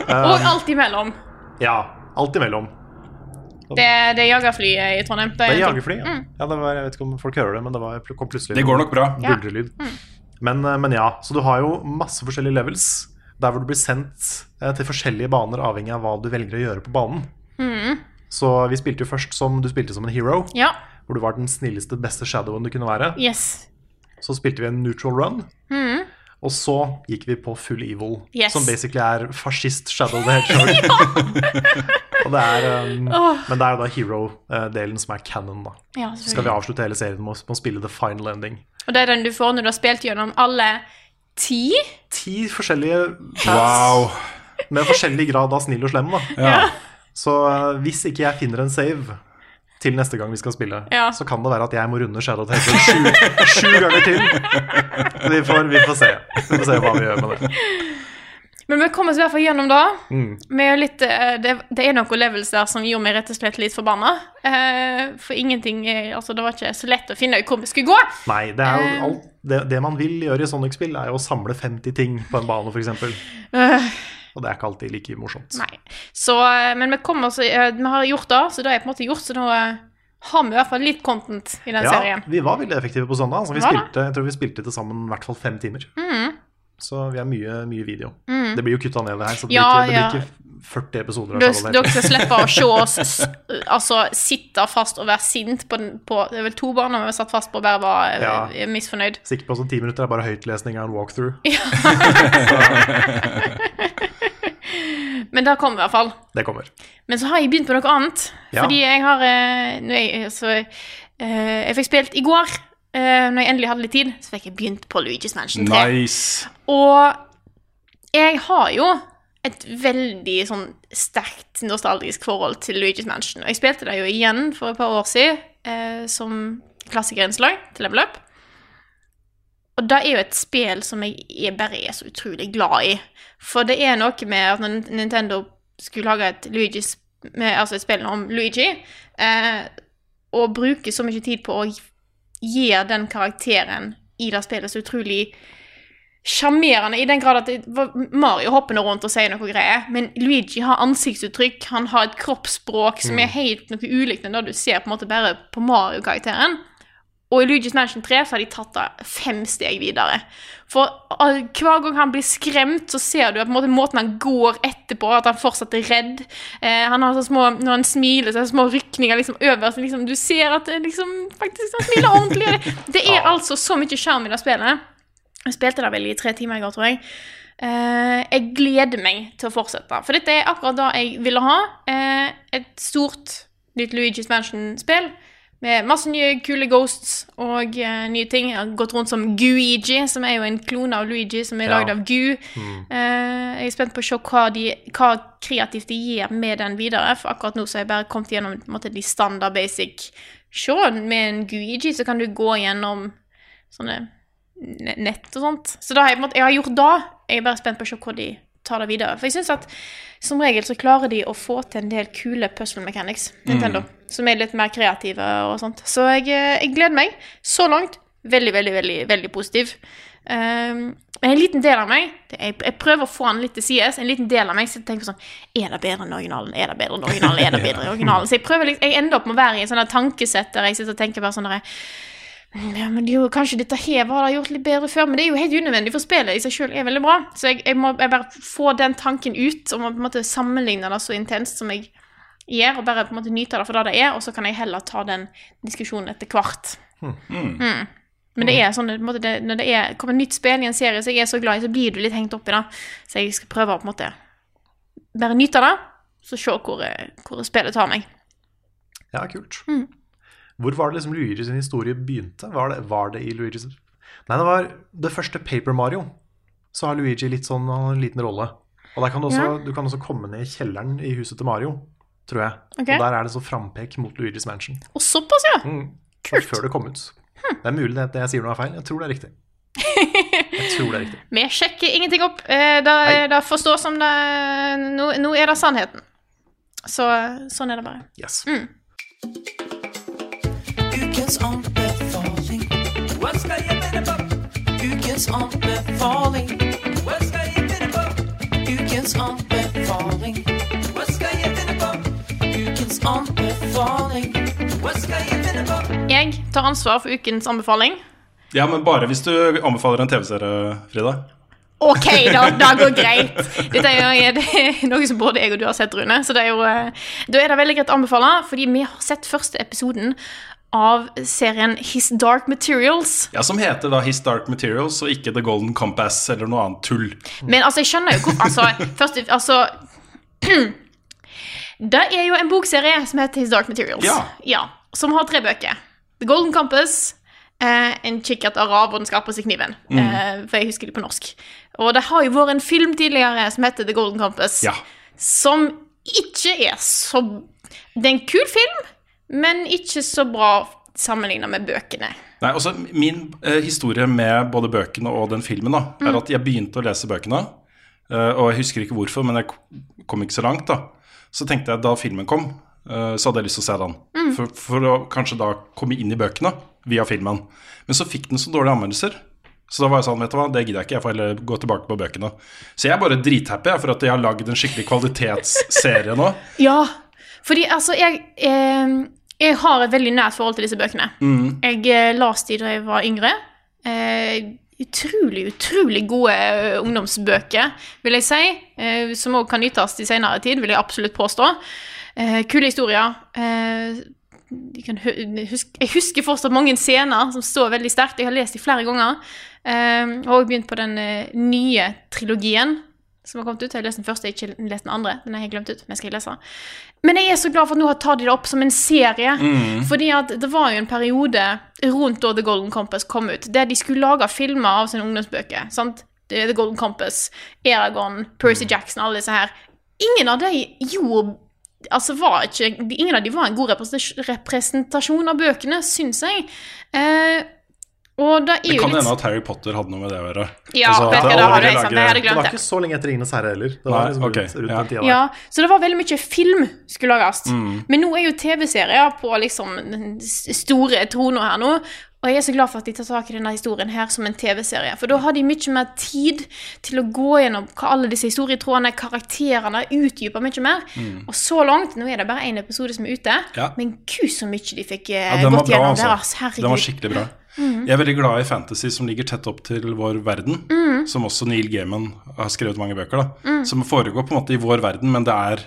Ah.
Og alt imellom.
Ja, alt imellom.
Det, det er jagerflyet i Trondheim.
Det er
en ting.
jagerfly. Ja. Ja, det var, jeg vet ikke om folk hører det, men det var, kom plutselig
Det går nok bra.
buldrelyd. Men, eh, men ja, så du har jo masse forskjellige levels. Der hvor du blir sendt eh, til forskjellige baner avhengig av hva du velger å gjøre på banen. Så vi spilte jo først som du spilte som en hero,
Ja.
hvor du var den snilleste, beste shadowen du kunne være.
Yes.
Så spilte vi en neutral run. Og så gikk vi på full evil,
Yes.
som basically er fascist shadow the hedgehog. og det er, um, Men det er jo da hero-delen som er canon, da.
Ja,
Så skal vi avslutte hele serien med å, med å spille the final ending.
Og det er den du får når du har spilt gjennom alle ti.
Ti forskjellige paths
Wow.
med forskjellig grad av snill og slem, da.
Ja.
Så uh, hvis ikke jeg finner en save til neste gang vi skal spille,
Ja.
så kan det være at jeg må runde Shadow the Hedgehog sju, sju ganger til. Vi får, vi får se. Vi får se hva vi gjør med det.
Men vi kom oss i hvert fall gjennom det.
Mm.
Vi er jo litt, eh, det, det er noen levels der som gjorde meg rett og slett litt forbanna. Eh, for ingenting eh, Altså, det var ikke så lett å finne ut hvor vi skulle gå.
Nei, det er jo
Eh. Eh.
alt det, det man vil gjøre i Sonic-spill, er jo å samle 50 ting på en bane, f.eks. Og og det er ikke alltid like morsomt.
Nei. Så, eh, men vi, kommer, så, eh, vi har gjort det, så det er på en måte gjort. Så nå eh, har vi i hvert fall litt content i den
Ja,
serien.
vi var veldig effektive på søndag. Altså, vi
Var det? Mm.
spilte, jeg tror vi spilte til sammen i hvert fall fem timer. Så vi er mye, mye video. Det blir jo kutta ned, det her. Så det blir,
Ja,
ikke, det
ja.
blir ikke 40 episoder. av
Dere
Charlotte.
dere skal slippe å se oss s- altså, sitte fast og være sint på, den- på Det er vel to barn vi satt fast på og bare var eh,
Ja.
misfornøyd.
Sikkert på sånn ti minutter er bare høytlesning av en walkthrough.
Men det kommer i hvert fall.
Det kommer.
Men så har jeg begynt på noe annet.
Ja.
Fordi jeg har eh, når jeg, så, eh, jeg fikk spilt i går, eh, når jeg endelig hadde litt tid, så fikk jeg begynt på Luigi's Mansion 3.
Nice.
Og jeg har jo et veldig sånn sterkt nostalgisk forhold til Luigi's Mansion. Og jeg spilte det jo igjen for et par år siden eh, som klassikerinnslag til Level Up. Og det er jo et spill som jeg er bare er så utrolig glad i. For det er noe med at når Nintendo skulle lage et, Luigi's, med, altså et spill om Luigi, eh, og bruke så mye tid på å gi den karakteren i det spillet så utrolig sjarmerende i den grad at det var Mario hopper nå rundt og sier noe greier, men Luigi har ansiktsuttrykk, han har et kroppsspråk som er helt noe ulikt enn det du ser på en måte bare på Mario-karakteren. Og i Luigi's Mansion 3 så har de tatt det fem steg videre. For ah, hver gang han blir skremt, så ser du at på en måte måten han går etterpå, at han fortsatt er redd. Eh, han har sånne små, Når han smiler, så er det små rykninger liksom øverst. Liksom, du ser at det liksom, faktisk, han smiler ordentlig. Det er altså så mye sjarm i det spillet. Jeg spilte det vel i tre timer i går, tror jeg. Eh, jeg gleder meg til å fortsette. For dette er akkurat det jeg ville ha. Eh, et stort, nytt Luigi's Mansion-spill. Med masse nye kule ghosts og eh, nye ting. Jeg har gått rundt som Guigi, som er jo en klone av Luigi som er
Ja.
lagd av Gu. Eh, jeg er spent på å se hva, de, hva kreativt de gjør med den videre. For akkurat nå så har jeg bare kommet gjennom på en måte, de standard basic. Se, med en Guigi så kan du gå gjennom sånne ne- nett og sånt. Så da har jeg, på en måte, jeg har gjort da. Jeg er bare spent på å se hvor de tar det videre. For jeg synes at som regel så klarer de å få til en del kule puzzle mechanics, Nintendo, som er litt mer kreative og sånt. Så jeg, eh, jeg gleder meg. Så langt veldig, veldig, veldig, veldig positiv. Um, men en liten del av meg det er, Jeg prøver å få han litt til sides. En liten del av meg sitter og tenker på sånn Er det bedre enn originalen? Er det bedre enn originalen? Er det bedre enn originalen? Så jeg prøver liksom, jeg ender opp med å være i en sånn der tankesett der jeg sitter og tenker bare sånn der, ja, men det er jo kanskje dette her var det gjort litt bedre før, men det er jo helt unødvendig, for spillet i seg selv er veldig bra. Så jeg, jeg må jeg bare få den tanken ut, og må på en måte sammenligne det så intenst som jeg gjør, og bare på en måte nyte det for det det er, og så kan jeg heller ta den diskusjonen etter hvert. Mm. Men det er sånn, på en måte, det, når det er, kommer nytt spill i en serie som jeg er så glad i, så blir du litt hengt opp i det. Så jeg skal prøve å på en måte bare nyte det, så se hvor, eh, hvor spillet tar meg.
Ja, kult.
Mm.
Hvor var det liksom Luigi sin historie begynte? Var det, var det i Luigi sin Nei, det var det første Paper Mario. Så har Luigi litt sånn, han har en liten rolle. Og der kan du, også, du kan også komme ned i kjelleren i huset til Mario, tror jeg.
Ok.
Og der er det så frampek mot Luigi's Mansion.
Og såpass, ja!
Mm. Kult. Før det kom ut.
Hm.
Det er mulig det, det jeg sier nå er feil. Jeg tror det er riktig. Jeg tror det er riktig.
Vi sjekker ingenting opp. Eh, Det,
Nei.
det forstås som det nå, nå er det sannheten. Så sånn er det bare.
Yes.
Jeg tar ansvar for ukens anbefaling.
Ja, men bare hvis du anbefaler en TV-serie, Frida.
OK, da, da går greit. Dette er, jo, det er noe som både jeg og du har sett, Rune. Så det er jo, eh, da er det veldig greit å anbefale, fordi vi har sett første episoden av serien His Dark Materials.
Ja, Som heter da His Dark Materials og ikke The Golden Compass eller noe annet tull.
Men altså, jeg skjønner jo hvorfor altså, først, altså, Det er jo en bokserie som heter His Dark Materials.
Ja.
som har tre bøker. The Golden Compass, eh, En kikkert arab og Den skarpe seg kniven.
Mm.
Eh, for jeg husker det på norsk. Og det har jo vært en film tidligere som heter The Golden Compass,
Ja.
som ikke er så Det er en kul film, men ikke så bra sammenligna med bøkene.
Nei, også Min eh, historie med både bøkene og den filmen da, er at jeg begynte å lese bøkene. eh, og jeg husker ikke hvorfor, men jeg k- kom ikke så langt. da. Så tenkte jeg da filmen kom, eh, så hadde jeg lyst til å se den. For, for å kanskje da komme inn i bøkene via filmen. Men så fikk den så dårlige anmeldelser Så da var jeg sånn, vet du hva, det gidder jeg ikke, jeg får heller gå tilbake på bøkene. Så jeg er bare drithappy jeg, for at jeg har lagd en skikkelig kvalitetsserie nå.
Ja, fordi altså jeg, eh, jeg har et veldig nært forhold til disse bøkene. Jeg eh, las de da jeg var yngre. Eh, utrolig, utrolig gode eh, ungdomsbøker, vil jeg si. Eh, som òg kan nytes i senere tid, vil jeg absolutt påstå. Eh, kule historier. Eh, jeg, kan hu husk, jeg husker fortsatt mange scener som står veldig sterkt. Jeg har lest dem flere ganger. Eh, og har også begynt på den eh, nye trilogien som har kommet ut. Jeg har lest den første, jeg har ikke lest den andre. Den har jeg glemt ut, men jeg skal lese. Men jeg er så glad for at nå har tar de det opp som en serie.
Mm.
Fordi at det var jo en periode rundt da The Golden Compass kom ut, der de skulle lage filmer av sine ungdomsbøker. sant? Det er The Golden Compass, Eragon, Percy
Mm.
Jackson, alle disse her. Ingen av de gjorde Altså var ikke, de- Ingen av de var en god representas- representasjon av bøkene, syns jeg. Eh, og det er
Det
jo
kan
litt
hende at Harry Potter hadde noe med det å gjøre.
Ja,
Altså,
vet
at
du, da har
det
du
aldri
liksom, det
lager-
hadde jeg
Det
glemt.
var
det.
ikke så lenge etter 'Ringenes herre' heller. Det var
Nei,
liksom
ok,
rundt, rundt
ja.
den tida der.
Ja, så det var veldig mye film skulle lages.
Mm.
Men nå er jo TV-serier på liksom den s- store trona her nå. Og jeg er så glad for at de tar tak i denne historien her som en TV-serie. For da har de mye mer tid til å gå gjennom hva alle disse historietrådene, karakterene, utdyper mye mer. Og så langt, nå er det bare én episode som er ute,
Mm. Ja.
men gud så mye de fikk eh,
Ja, den var
gått
bra,
gjennom
altså.
der. ass. Herregud. Mm.
Den var skikkelig bra. Jeg er veldig glad i fantasy som ligger tett opp til vår verden.
Mm.
Som også Neil Gaiman har skrevet mange bøker, da. Som foregår på en måte i vår verden, men det er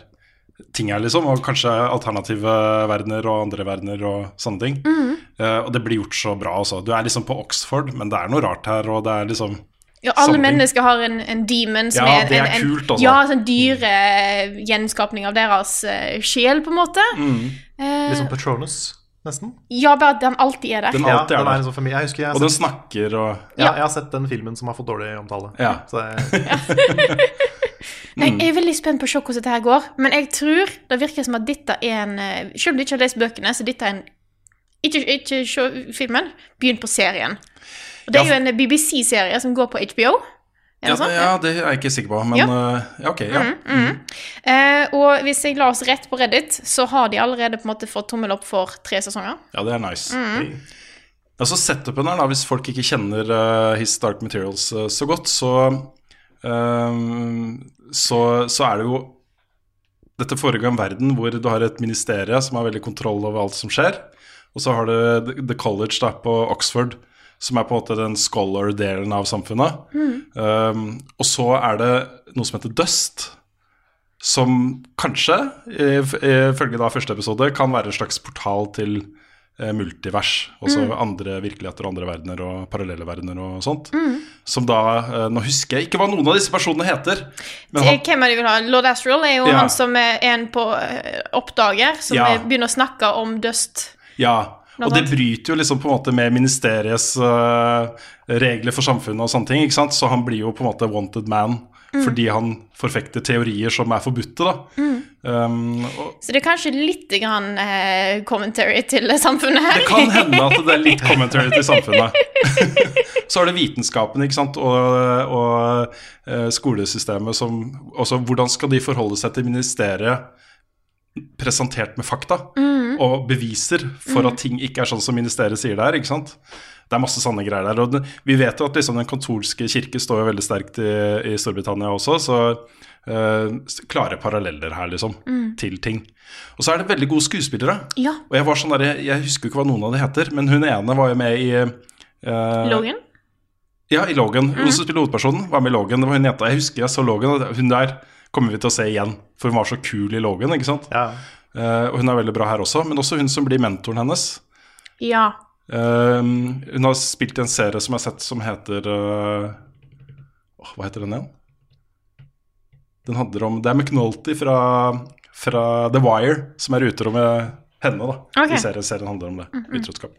ting her, liksom. Og kanskje alternative verdener og andre verdener og sånne ting.
Mm.
Eh, og det blir gjort så bra, altså. Du er liksom på Oxford, men det er noe rart her, og det er liksom
Ja, alle
Samling.
mennesker har en, en demon som
Ja,
er,
det er
en, en,
kult, altså.
Ja, sånn dyre eh, gjenskapning av deres eh, sjel, på en måte.
Mm.
Eh,
Litt sånn Patronus, nesten.
ja, bare at den alltid er der.
Den
Ja,
alltid
den
er
er en
der.
sånn familie. Jeg husker jeg har,
Og den
sett,
snakker og
ja, jeg har sett den filmen som har fått dårlig omtale.
Ja.
Så jeg,
mm.
Nei, jeg er veldig spent på å se hvordan dette her går, men jeg tror det virker som at dette er en eh, Selv om du ikke har lest bøkene, så dette er en Ikke, ikke se filmen, begynn på serien. Og det er
Ja.
jo en BBC-serie som går på HBO. Er
ja,
det sånn?
ja, det er jeg ikke sikker på, men
Ja. Mm.
eh, ja, ok. Ja.
Eh, og hvis jeg la oss rett på Reddit, så har de allerede på en måte fått tommel opp for tre sesonger.
Ja, det er nice. Altså Setupen her, da, hvis folk ikke kjenner eh, His Dark Materials eh, så godt, så, ehm, så Så er det jo Dette foregår i en verden hvor du har et ministerie som har veldig kontroll over alt som skjer. Og så har du The- The College da, på Oxford, som er på en måte den scholar-delen av samfunnet. Ehm, og så er det noe som heter Dust som kanskje, if- ifølge da første episode, kan være en slags portal til eh, multivers. Altså andre virkeligheter og andre verdener og parallelle verdener og sånt. Som da eh, Nå husker jeg ikke hva noen av disse personene heter. Men
Eh,
han,
Hvem er det vi vil ha? Lord Astral er jo
Ja.
han som er en på eh, oppdager, som
Ja.
eh, begynner å snakke om dust.
ja,
Blant
og det
annet.
bryter jo liksom på en måte med ministeriets eh, regler for samfunnet og sånne ting. ikke sant? Så han blir jo på en måte wanted man.
Mm.
Fordi han forfekter teorier som er forbudte, da. Um, og,
Så det er kanskje litt grann, eh, commentary til eh, samfunnet her.
Det kan hende at det er litt commentary til samfunnet. Så har det vitenskapen ikke sant? og, og eh, skolesystemet som også, Hvordan skal de forholde seg til ministeriet presentert med fakta og beviser for at ting ikke er sånn som ministeriet sier det er? ikke sant? Det er masse sanne greier der. Og den, vi vet jo at liksom, den kontorske kirke står jo veldig sterkt i, i Storbritannia også, så eh, s- klare paralleller her, liksom, til ting. Og så er det veldig gode skuespillere.
Ja.
Og jeg var sånn der, jeg, jeg husker jo ikke hva noen av de heter, men hun ene var jo med i eh,
Logan?
Ja, i Logan. Hun som spiller hovedpersonen, var med i Logan. Det var hun jenta. Jeg husker jeg så Logan, og hun der kommer vi til å se igjen. For hun var så kul i Logan, ikke sant.
ja.
Eh, og hun er veldig bra her også, men også hun som blir mentoren hennes.
Ja.
Eh, hun har spilt i en serie som jeg har sett som heter eh, åh, Hva heter den igjen? Den handler om Det er McNulty fra, fra The Wire som er utro med henne, da.
Ok. Mhm.
I serien, serien handler om det. Utroskap.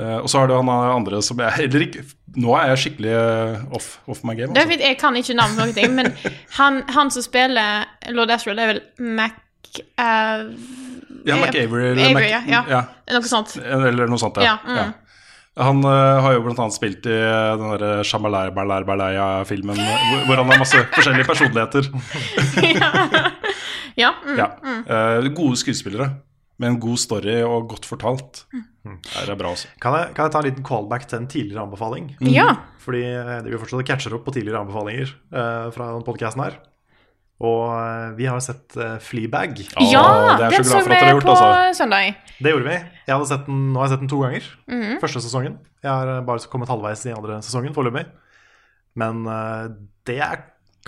Eh, og så har du han andre som jeg heller ikke Nå er jeg skikkelig eh, off, off my game.
Det
Altså.
er fint, jeg kan ikke navn på noen ting, men han, han som spiller Lord Astral, det er vel Mac... eh,
Ja, McAvery eller
Avery,
Mac-
ja, ja.
ja.
Noe sånt.
Eller noe sånt,
Ja,
ja.
mm.
ja. Han eh, har jo blant annet spilt i eh, den derre Shamalai Balai Balaya-filmen hvor, hvor han har masse forskjellige personligheter.
ja. Mm.
Ja. Eh, gode skuespillere. med en god story og godt fortalt.
Mm.
Det er bra altså. også.
Kan jeg, kan jeg ta en liten callback til en tidligere anbefaling?
Mm.
Ja.
Fordi eh, det vi fortsatt catcher opp på tidligere anbefalinger eh, fra denne podcasten her. Og eh, vi har sett eh, Fleabag.
Ja,
Å, det er jeg
den så
så glad for at
vi
dere har gjort,
på
altså.
søndag.
Det gjorde vi. Jeg hadde sett den, nå har jeg sett den to ganger.
Mhm.
Første sesongen. Jeg har eh, bare kommet halvveis i andre sesongen foreløpig. Men eh, det er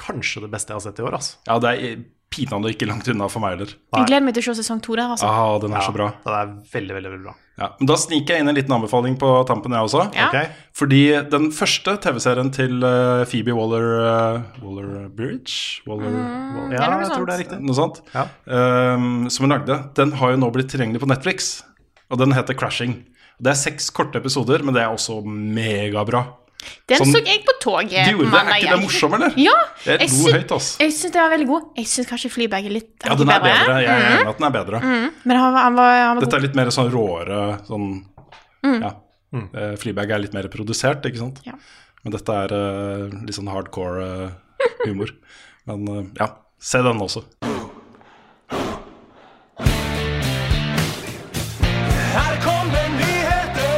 kanskje det beste jeg har sett i år, altså.
Ja, det er pinadø ikke langt unna for meg heller.
Jeg gleder meg til å se sesong to der, altså.
Ah, den er så bra.
Den er veldig, veldig, veldig bra.
Ja, men Da sniker jeg inn en liten anbefaling på tampen, jeg også.
Ja.
Ok?
Fordi den første TV-serien til eh, Phoebe Waller eh, Waller Bridge? Waller, Waller
Ja,
Mm, noe
jeg
sånt.
tror det er riktig.
Noe sånt.
Ja.
Ehm, som hun lagde. Den har jo nå blitt tilgjengelig på Netflix, og den heter Crashing. Det er seks korte episoder, men det er også megabra.
Den
Sånn-
så jeg på toget.
Du gjorde det, er
mandag,
ikke det
Eh, jeg.
morsom, eller?
Ja.
Det er
jeg
god
syn-
høyt, ass.
Jeg syns den var veldig god. Jeg syns kanskje Flyberg er Mm. litt
Ja, den er bedre. Jeg er enig i at den er bedre.
Men han, var- han var, han var
Dette
god.
er litt mer sånn råere sånn Ja. Eh, Fleabag er litt mer produsert, ikke sant?
Mm. Ja.
Men dette er eh, litt sånn hardcore eh, humor. Men eh, ja, se den også.
Her kommer nyheter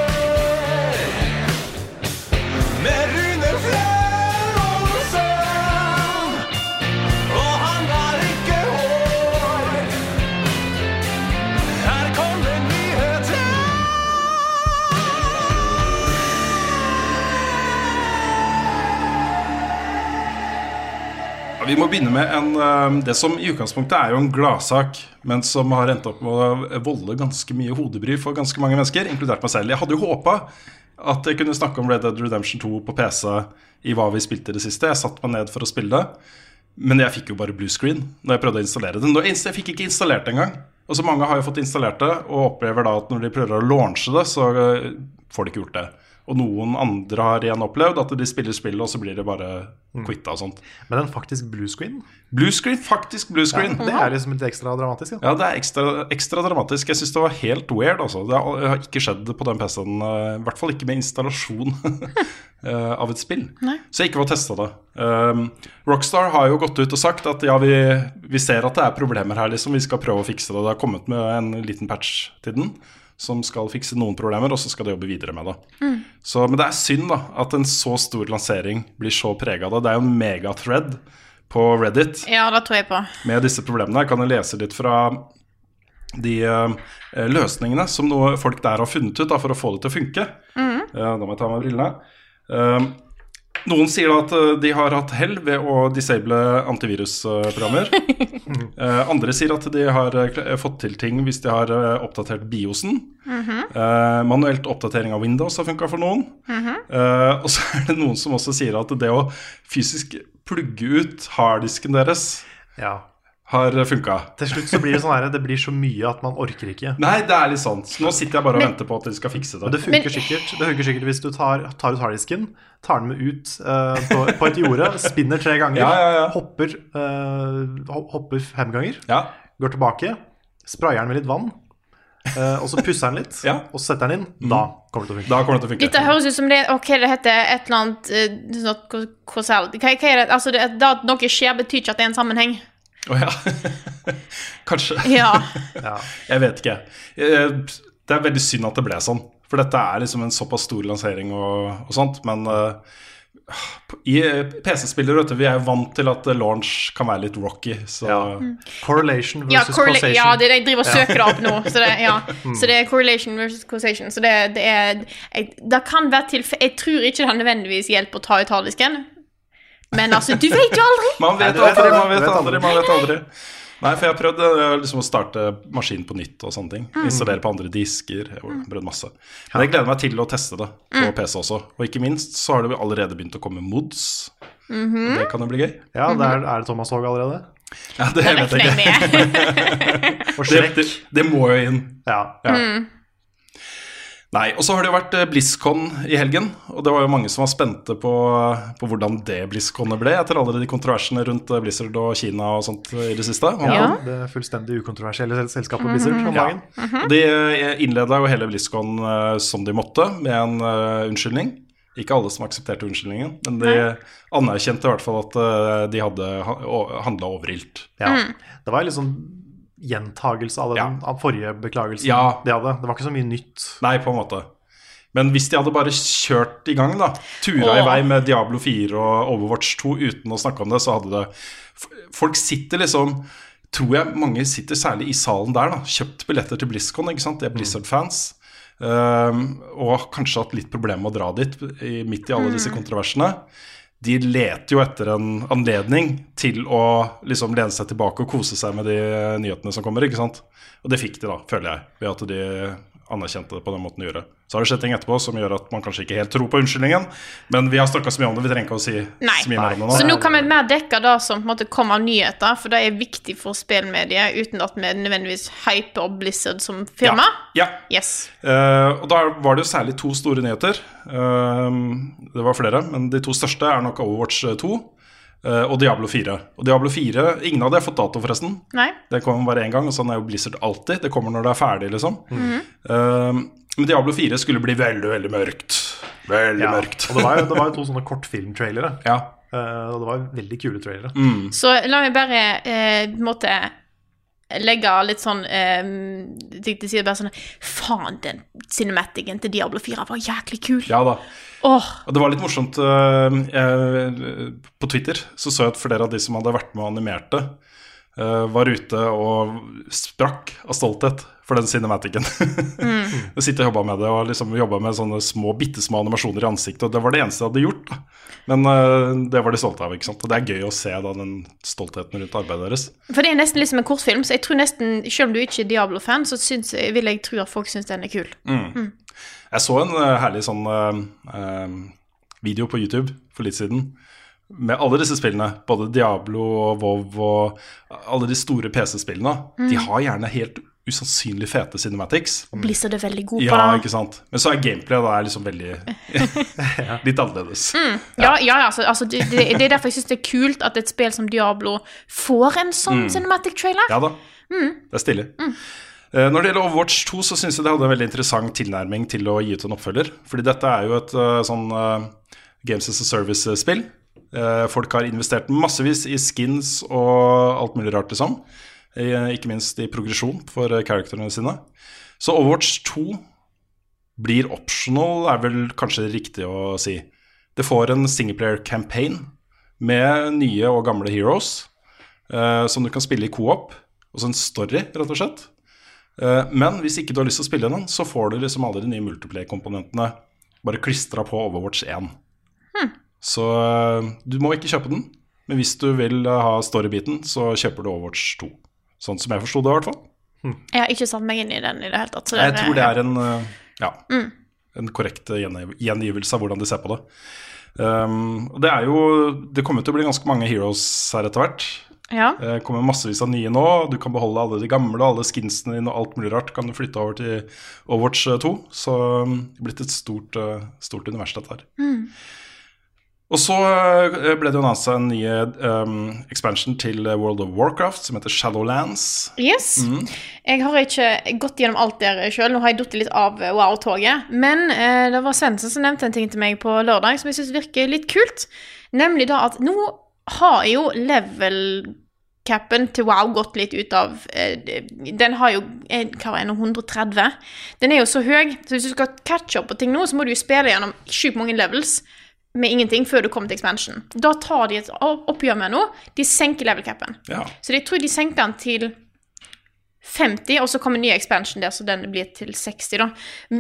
med Rune Fleråsen. Og han har ikke hår. Her kommer nyheter.
Ja, Vi må begynne med en, eh, det som i utgangspunktet er jo en gladsak, men som har endt opp med å volde ganske mye hodebry for ganske mange mennesker, inkludert meg selv. Jeg hadde jo håpa at jeg kunne snakke om Red Dead Redemption 2 på PC i hva vi spilte i det siste. Jeg satte meg ned for å spille det, men jeg fikk jo bare blue screen når jeg prøvde å installere det. Nå- Jeg fikk ikke installert det engang. Og så mange har jo fått installert det, og opplever da at når de prøver å launche det, så eh, får de ikke gjort det. Og noen andre har igjen opplevd at de spiller spillet, og så blir det bare quitta og sånt.
Men den faktisk blue screen,
Blue screen, faktisk blue screen.
det er liksom litt ekstra dramatisk. Ja.
Ja, det er ekstra, ekstra dramatisk. Jeg syns det var helt weird. Altså. Det har- har ikke skjedd på den PC-en. eh, I hvert fall ikke med installasjon eh, av et spill. Så jeg ikke var testa det. Um, Rockstar har jo gått ut og sagt at ja, vi, vi ser at det er problemer her, liksom. Vi skal prøve å fikse det. Det har kommet med en liten patch til den. Som skal fikse noen problemer, og så skal de jobbe videre med det. Så, men det er synd da at en så stor lansering blir så prega av det. Det er jo en megathread på Reddit
Ja, det tror jeg på.
med disse problemene. Jeg kan jo lese litt fra de eh, løsningene som noe folk der har funnet ut da, for å få det til å funke. Eh, da må jeg ta av meg brillene. Eh, noen sier da at eh, de har hatt hell ved å disable antivirusprogrammer. Eh, andre sier at de har eh, kl- fått til ting hvis de har eh, oppdatert biosen. Eh, manuelt oppdatering av Windows har funka for noen. Eh, og så er det noen som også sier at det å fysisk plugge ut harddisken deres
Ja.
har funka.
Til slutt så blir det sånn her, det blir så mye at man orker ikke.
Nei, det er litt sånn. Så nå sitter jeg bare og venter på at de skal fikse
Men
det.
det funker,
Men-
sikkert, det funker sikkert hvis du tar, tar ut harddisken, tar den med ut eh, på, på et jorde, spinner tre ganger,
Ja, ja, ja.
Hopper, eh, ho- hopper fem ganger,
Ja,
går tilbake, sprayer den med litt vann, eh, og så pusser den litt,
Ja. Mm.
og så setter den inn. Da kommer det til å funke.
Da kommer det til å funke.
Dette høres ut som det Ok, det heter et eller annet eh, sånn ko- kausal hva, hva er det? Altså, det, det at noe skjer, betyr ikke at det er en sammenheng.
Å, ja. Kanskje.
Ja.
Jeg vet ikke. Eh, Det er veldig synd at det ble sånn. For dette er liksom en såpass stor lansering og, og sånt. Men eh, i eh, PC-spillere, vet du, vi er jo vant til at eh, launch kan være litt rocky. Så
Correlation
ja,
versus
correla-
causation.
ja det, jeg driver og søker det opp nå. Så det, ja.
Mm.
så det er correlation versus causation. Så det, det er jeg, Det kan være tilfelle Jeg tror ikke det har nødvendigvis hjelp å ta ut harddisken. Men altså, du vet jo aldri!
man vet
du vet aldri,
aldri,
du
man vet
vet
aldri,
aldri.
man vet aldri. Nei, for jeg har prøvd eh, liksom å starte maskinen på nytt og sånne ting. Installere på andre disker. Jeg har prøvd masse. Men jeg gleder meg til å teste det på PC også. Og ikke minst så har det jo allerede begynt å komme mods. Og Det kan jo bli gøy.
Ja, der
Mm.
er det Thomas Haag allerede.
Ja, det vet jeg
Regner
ikke.
jeg med.
Og
Det,
Shrek.
det, det må jo inn.
Ja.
Ja.
Mm.
Nei, og så har det jo vært eh, BlizzCon i helgen, og det var jo mange som var spente på, på hvordan det BlizzConet ble, etter alle de kontroversene rundt eh, Blizzard og Kina og sånt eh, i det siste.
Ja.
Det fullstendig ukontroversielle sel-
Mm.
selskapet Blizzard om dagen.
Og de eh, innleda jo hele BlizzCon eh, som de måtte, med en eh, unnskyldning. Ikke alle som aksepterte unnskyldningen, men de anerkjente i hvert fall at eh, de hadde handla overilt.
Mm.
Ja. Det var liksom gjentagelse av den
Ja.
av forrige beklagelsen
Ja.
de hadde. Det var ikke så mye nytt.
Nei, på en måte. Men hvis de hadde bare kjørt i gang, da, tura i
Åh.
vei med Diablo 4 og Overwatch 2 uten å snakke om det, så hadde det F- Folk sitter liksom Tror jeg mange sitter særlig i salen der, da. Kjøpt billetter til BlizzCon, ikke
Mm.
sant. De er Blizzard-fans. Ehm, og kanskje hatt litt problemer med å dra dit i, midt i
Mm.
alle disse kontroversene. De leter jo etter en anledning til å liksom lene seg tilbake og kose seg med de eh, nyhetene som kommer. ikke sant? Og det fikk de, da, føler jeg, ved at de anerkjente det på den måten de gjorde. Så har det skjedd ting etterpå som gjør at man kanskje ikke helt tror på unnskyldningen, men vi har snakka så mye om det, vi trenger ikke å si
Nei.
så mye mer om det nå.
Så nå kan vi mer dekke det som på en måte kommer av nyheter, for det er viktig for spillmediet, uten at vi nødvendigvis hyper Blizzard som firma.
Ja, ja.
Yes.
Eh, og da var det jo særlig to store nyheter. Eh, det var flere, men de to største er nok Overwatch 2 eh, og Diablo 4. Og Diablo 4, Ingen av de har fått dato, forresten.
Nei?
Det kommer bare én gang, og sånn er jo Blizzard alltid. Det kommer når det er ferdig, liksom. Eh, men Diablo 4 skulle bli veldig, veldig mørkt. Veldig
Ja.
mørkt.
Og det var jo, det var jo to sånne kortfilmtrailere.
ja.
eh, og det var veldig kule trailere.
Så la meg bare eh, på en måte legge litt sånn eh, Til til side bare sånn Faen, den cinematikken til Diablo 4 var jæklig kul.
ja da.
Åh,
Og det var litt morsomt eh, jeg, På Twitter så så jeg at flere av de som hadde vært med og animerte, eh, var ute og sprakk av stolthet for den cinematicen. Jeg sitter og jobba med det, og liksom jobba med sånne små, bitte små animasjoner i ansiktet. Og det var det eneste jeg hadde gjort. da. Men eh, det var de stolte av. ikke sant? Og det er gøy å se da den stoltheten rundt arbeidet deres.
For det er nesten liksom en kortfilm, så jeg tror nesten, selv om du ikke er Diablo-fan, så syns, vil jeg tro at folk syns den er kul.
Mm. Jeg så en eh, herlig sånn eh, eh, video på YouTube for litt siden med alle disse spillene, både Diablo og WoW og alle de store PC-spillene. De har gjerne helt usannsynlig fete cinematics.
Og Blizzard er veldig god
Ja,
på det.
ikke sant? Men så er gameplay da er liksom veldig litt annerledes.
Ja, ja, altså, altså det, det, det er derfor jeg syns det er kult at et spill som Diablo får en sånn
Mm.
cinematic trailer.
Ja da. Det er stilig. Eh, Når det gjelder Overwatch 2, så syns jeg det hadde en veldig interessant tilnærming til å gi ut en oppfølger. Fordi dette er jo et eh, sånn eh, Games as a Service-spill. Eh, folk har investert massevis i skins og alt mulig rart, liksom. Eh, ikke minst i progresjon for eh, characterene sine. Så Overwatch 2 blir optional, er vel kanskje riktig å si. Det får en singleplayer-campaign med nye og gamle heroes eh, som du kan spille i co-op. Altså en story, rett og slett. Eh, men hvis ikke du har lyst til å spille den, så får du liksom alle de nye multiplay-komponentene bare klistra på Overwatch 1. Så eh, du må ikke kjøpe den, men hvis du vil eh, ha story-biten, så kjøper du Overwatch 2. Sånn som jeg forsto det, i hvert fall.
Jeg har ikke satt meg inn i den i det hele tatt. så
Jeg tror det
ja.
er en, eh, ja, en korrekt eh, gjengiv- gjengivelse av hvordan de ser på det. Um, og det er jo Det kommer til å bli ganske mange heroes her etter hvert.
Ja.
Det Eh, kommer massevis av nye nå. Du kan beholde alle de gamle, alle skinsene dine og alt mulig rart. Kan du flytte over til Overwatch 2. Så um, det er blitt et stort, uh, stort univers, dette her.
Mm.
Og så uh, ble det jo annonsa en ny um, expansion til World of Warcraft som heter Shadowlands.
Yes. Jeg har ikke gått gjennom alt der sjøl, nå har jeg falt litt av eh, wow-toget. Men eh, det var Svendsen som nevnte en ting til meg på lørdag som jeg syns virker litt kult. Nemlig da at nå har jo level-capen til wow gått litt ut av eh, Den har jo eh, hva var det, nå, 130. Den er jo så høy, så hvis du skal catche opp på ting nå, så må du jo spille gjennom sjukt mange levels med ingenting før du kommer til expansion. Da tar de et oppgjør med nå. De senker level-capen.
Ja.
Så jeg tror de senker den til 50, og så kommer en ny expansion der, så den blir til 60, da.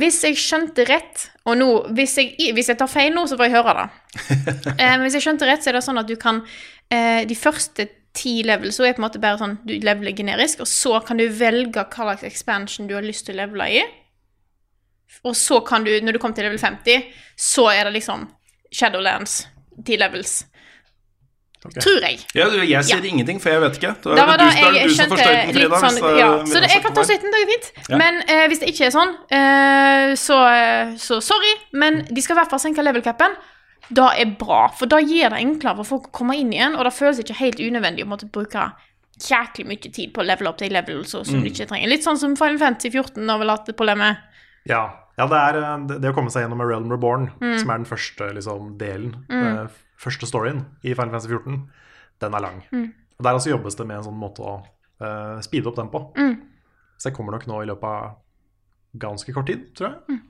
Hvis jeg skjønte rett, og nå Hvis jeg, hvis jeg tar feil nå, så får jeg høre det. Eh, men hvis jeg skjønte rett, så er det sånn at du kan eh, De første ti levels så er på en måte bare sånn Du leveler generisk, og så kan du velge hva slags expansion du har lyst til å levele i. Og så kan du, når du kommer til level 50, så er det liksom Shadowlands, ti levels. Tror jeg.
Ja, du, jeg sier
Ja.
ingenting, for jeg vet ikke. Da
Da
er
var
det
da
du, da er det
jeg
du som
skjønte
får
litt
støyten, Frida.
sånn
hvis det-
Ja,
hvis
så
det
det, jeg
er
kan ta
feil.
støyten, det er fint.
Ja.
Men eh, hvis det ikke er sånn, eh, så, så sorry. Men de skal i hvert fall senke level capen. Det er bra, for da gir det enklere for folk å komme inn igjen, og det føles ikke helt unødvendig å måtte bruke jæklig mye tid på å levele opp de levels som
Mm.
du ikke trenger. Litt sånn som Final Fantasy 14 har vel hatt det problemet.
Ja, ja det er eh, det- det å komme seg gjennom A Realm Reborn,
Mm.
som er den første liksom, delen, eh, f-
Mm.
første storyen i Final Fantasy 14, den er lang. Og Der også jobbes det med en sånn måte å eh, speede opp den på.
Mm.
Så jeg kommer nok nå i løpet av ganske kort tid, tror
Mm.
jeg.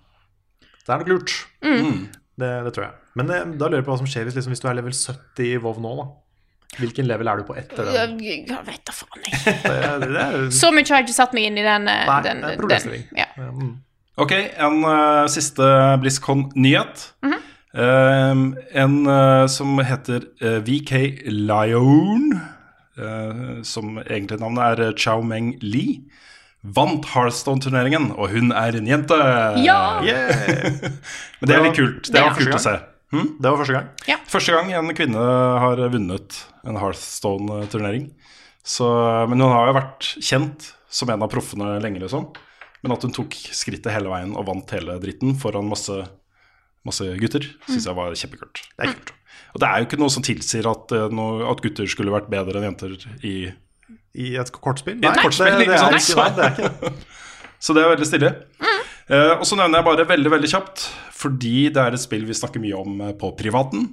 Det er nok lurt. Det, det tror jeg. Men eh, da lurer jeg på hva som skjer hvis, liksom, hvis du er level 70 i WoW nå, da. Hvilken level er du på etter den?
Jeg jeg vet da faen, jeg.
Det, det, er,
Så mye har jeg ikke satt meg inn i den. eh,
Nei,
den,
det er en
den-
problemstilling.
Ja.
eh, mm.
Ok, en eh, siste BlizzCon-nyhet. Eh, en eh, som heter eh, VK Lion, eh, som egentlig navnet er eh, Chao Meng Li, vant Hearthstone-turneringen, og hun er en jente!
Ja!
Yeah!
Men det er litt kult. Det,
Det
var
er
kult å
første
se. Hm?
Det var første gang.
Første gang en kvinne har vunnet en Hearthstone-turnering. Så- Men hun har jo vært kjent som en av proffene lenge, liksom. Men at hun tok skrittet hele veien og vant hele dritten foran masse, masse gutter, syns jeg var kjempekult. Det er kult. Og det er jo ikke noe som tilsier at, eh, noe, at gutter skulle vært bedre enn jenter i
I et kortspill?
et kortspill,
det, det,
liksom. ikke
er
sant?
ikke, nei, det er ikke det. Mm.
Så det er veldig stille. Eh, og så nevner jeg bare veldig veldig kjapt, fordi det er et spill vi snakker mye om eh, på privaten.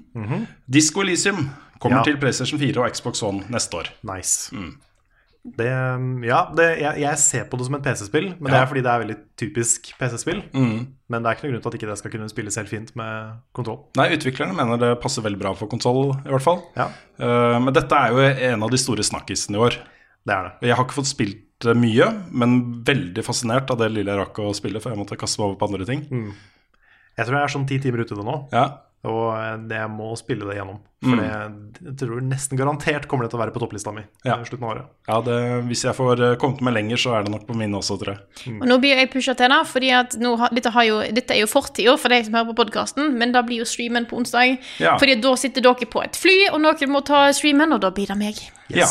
Disco Elysium kommer
Mhm. Ja.
til PlayStation 4 og Xbox One neste år.
Nice.
Mm.
Det, mm, ja, det, jeg, jeg ser på det som et PC-spill, men det
Ja.
er fordi det er veldig typisk PC-spill. Men det er ikke noen grunn til at ikke det skal kunne spilles helt fint med kontroll.
Nei, Utviklerne mener det passer veldig bra for konsoll, i hvert fall.
Ja,
Eh, men dette er jo en av de store snakkisene i år.
det er det.
Jeg har ikke fått spilt det mye, men veldig fascinert av det lille jeg rakk å spille, for jeg måtte kaste meg over på andre ting.
Mm. Jeg tror jeg er sånn ti timer ute i det nå,
Ja,
og eh, jeg må spille det gjennom. For det- jeg tror nesten garantert kommer det til å være på topplista mi
Mm. Ja.
i slutten av året.
ja det, Hvis jeg får eh, kommet meg lenger, så er det nok på mine også, tror jeg.
Og nå blir jeg pusha til, da, fordi at nå har, dette, har jo, dette er jo fortida for deg som hører på podkasten, men da blir jo streamen på onsdag.
Ja.
Fordi da sitter dere på et fly, og noen må ta streamen, og da blir det meg.
Ja.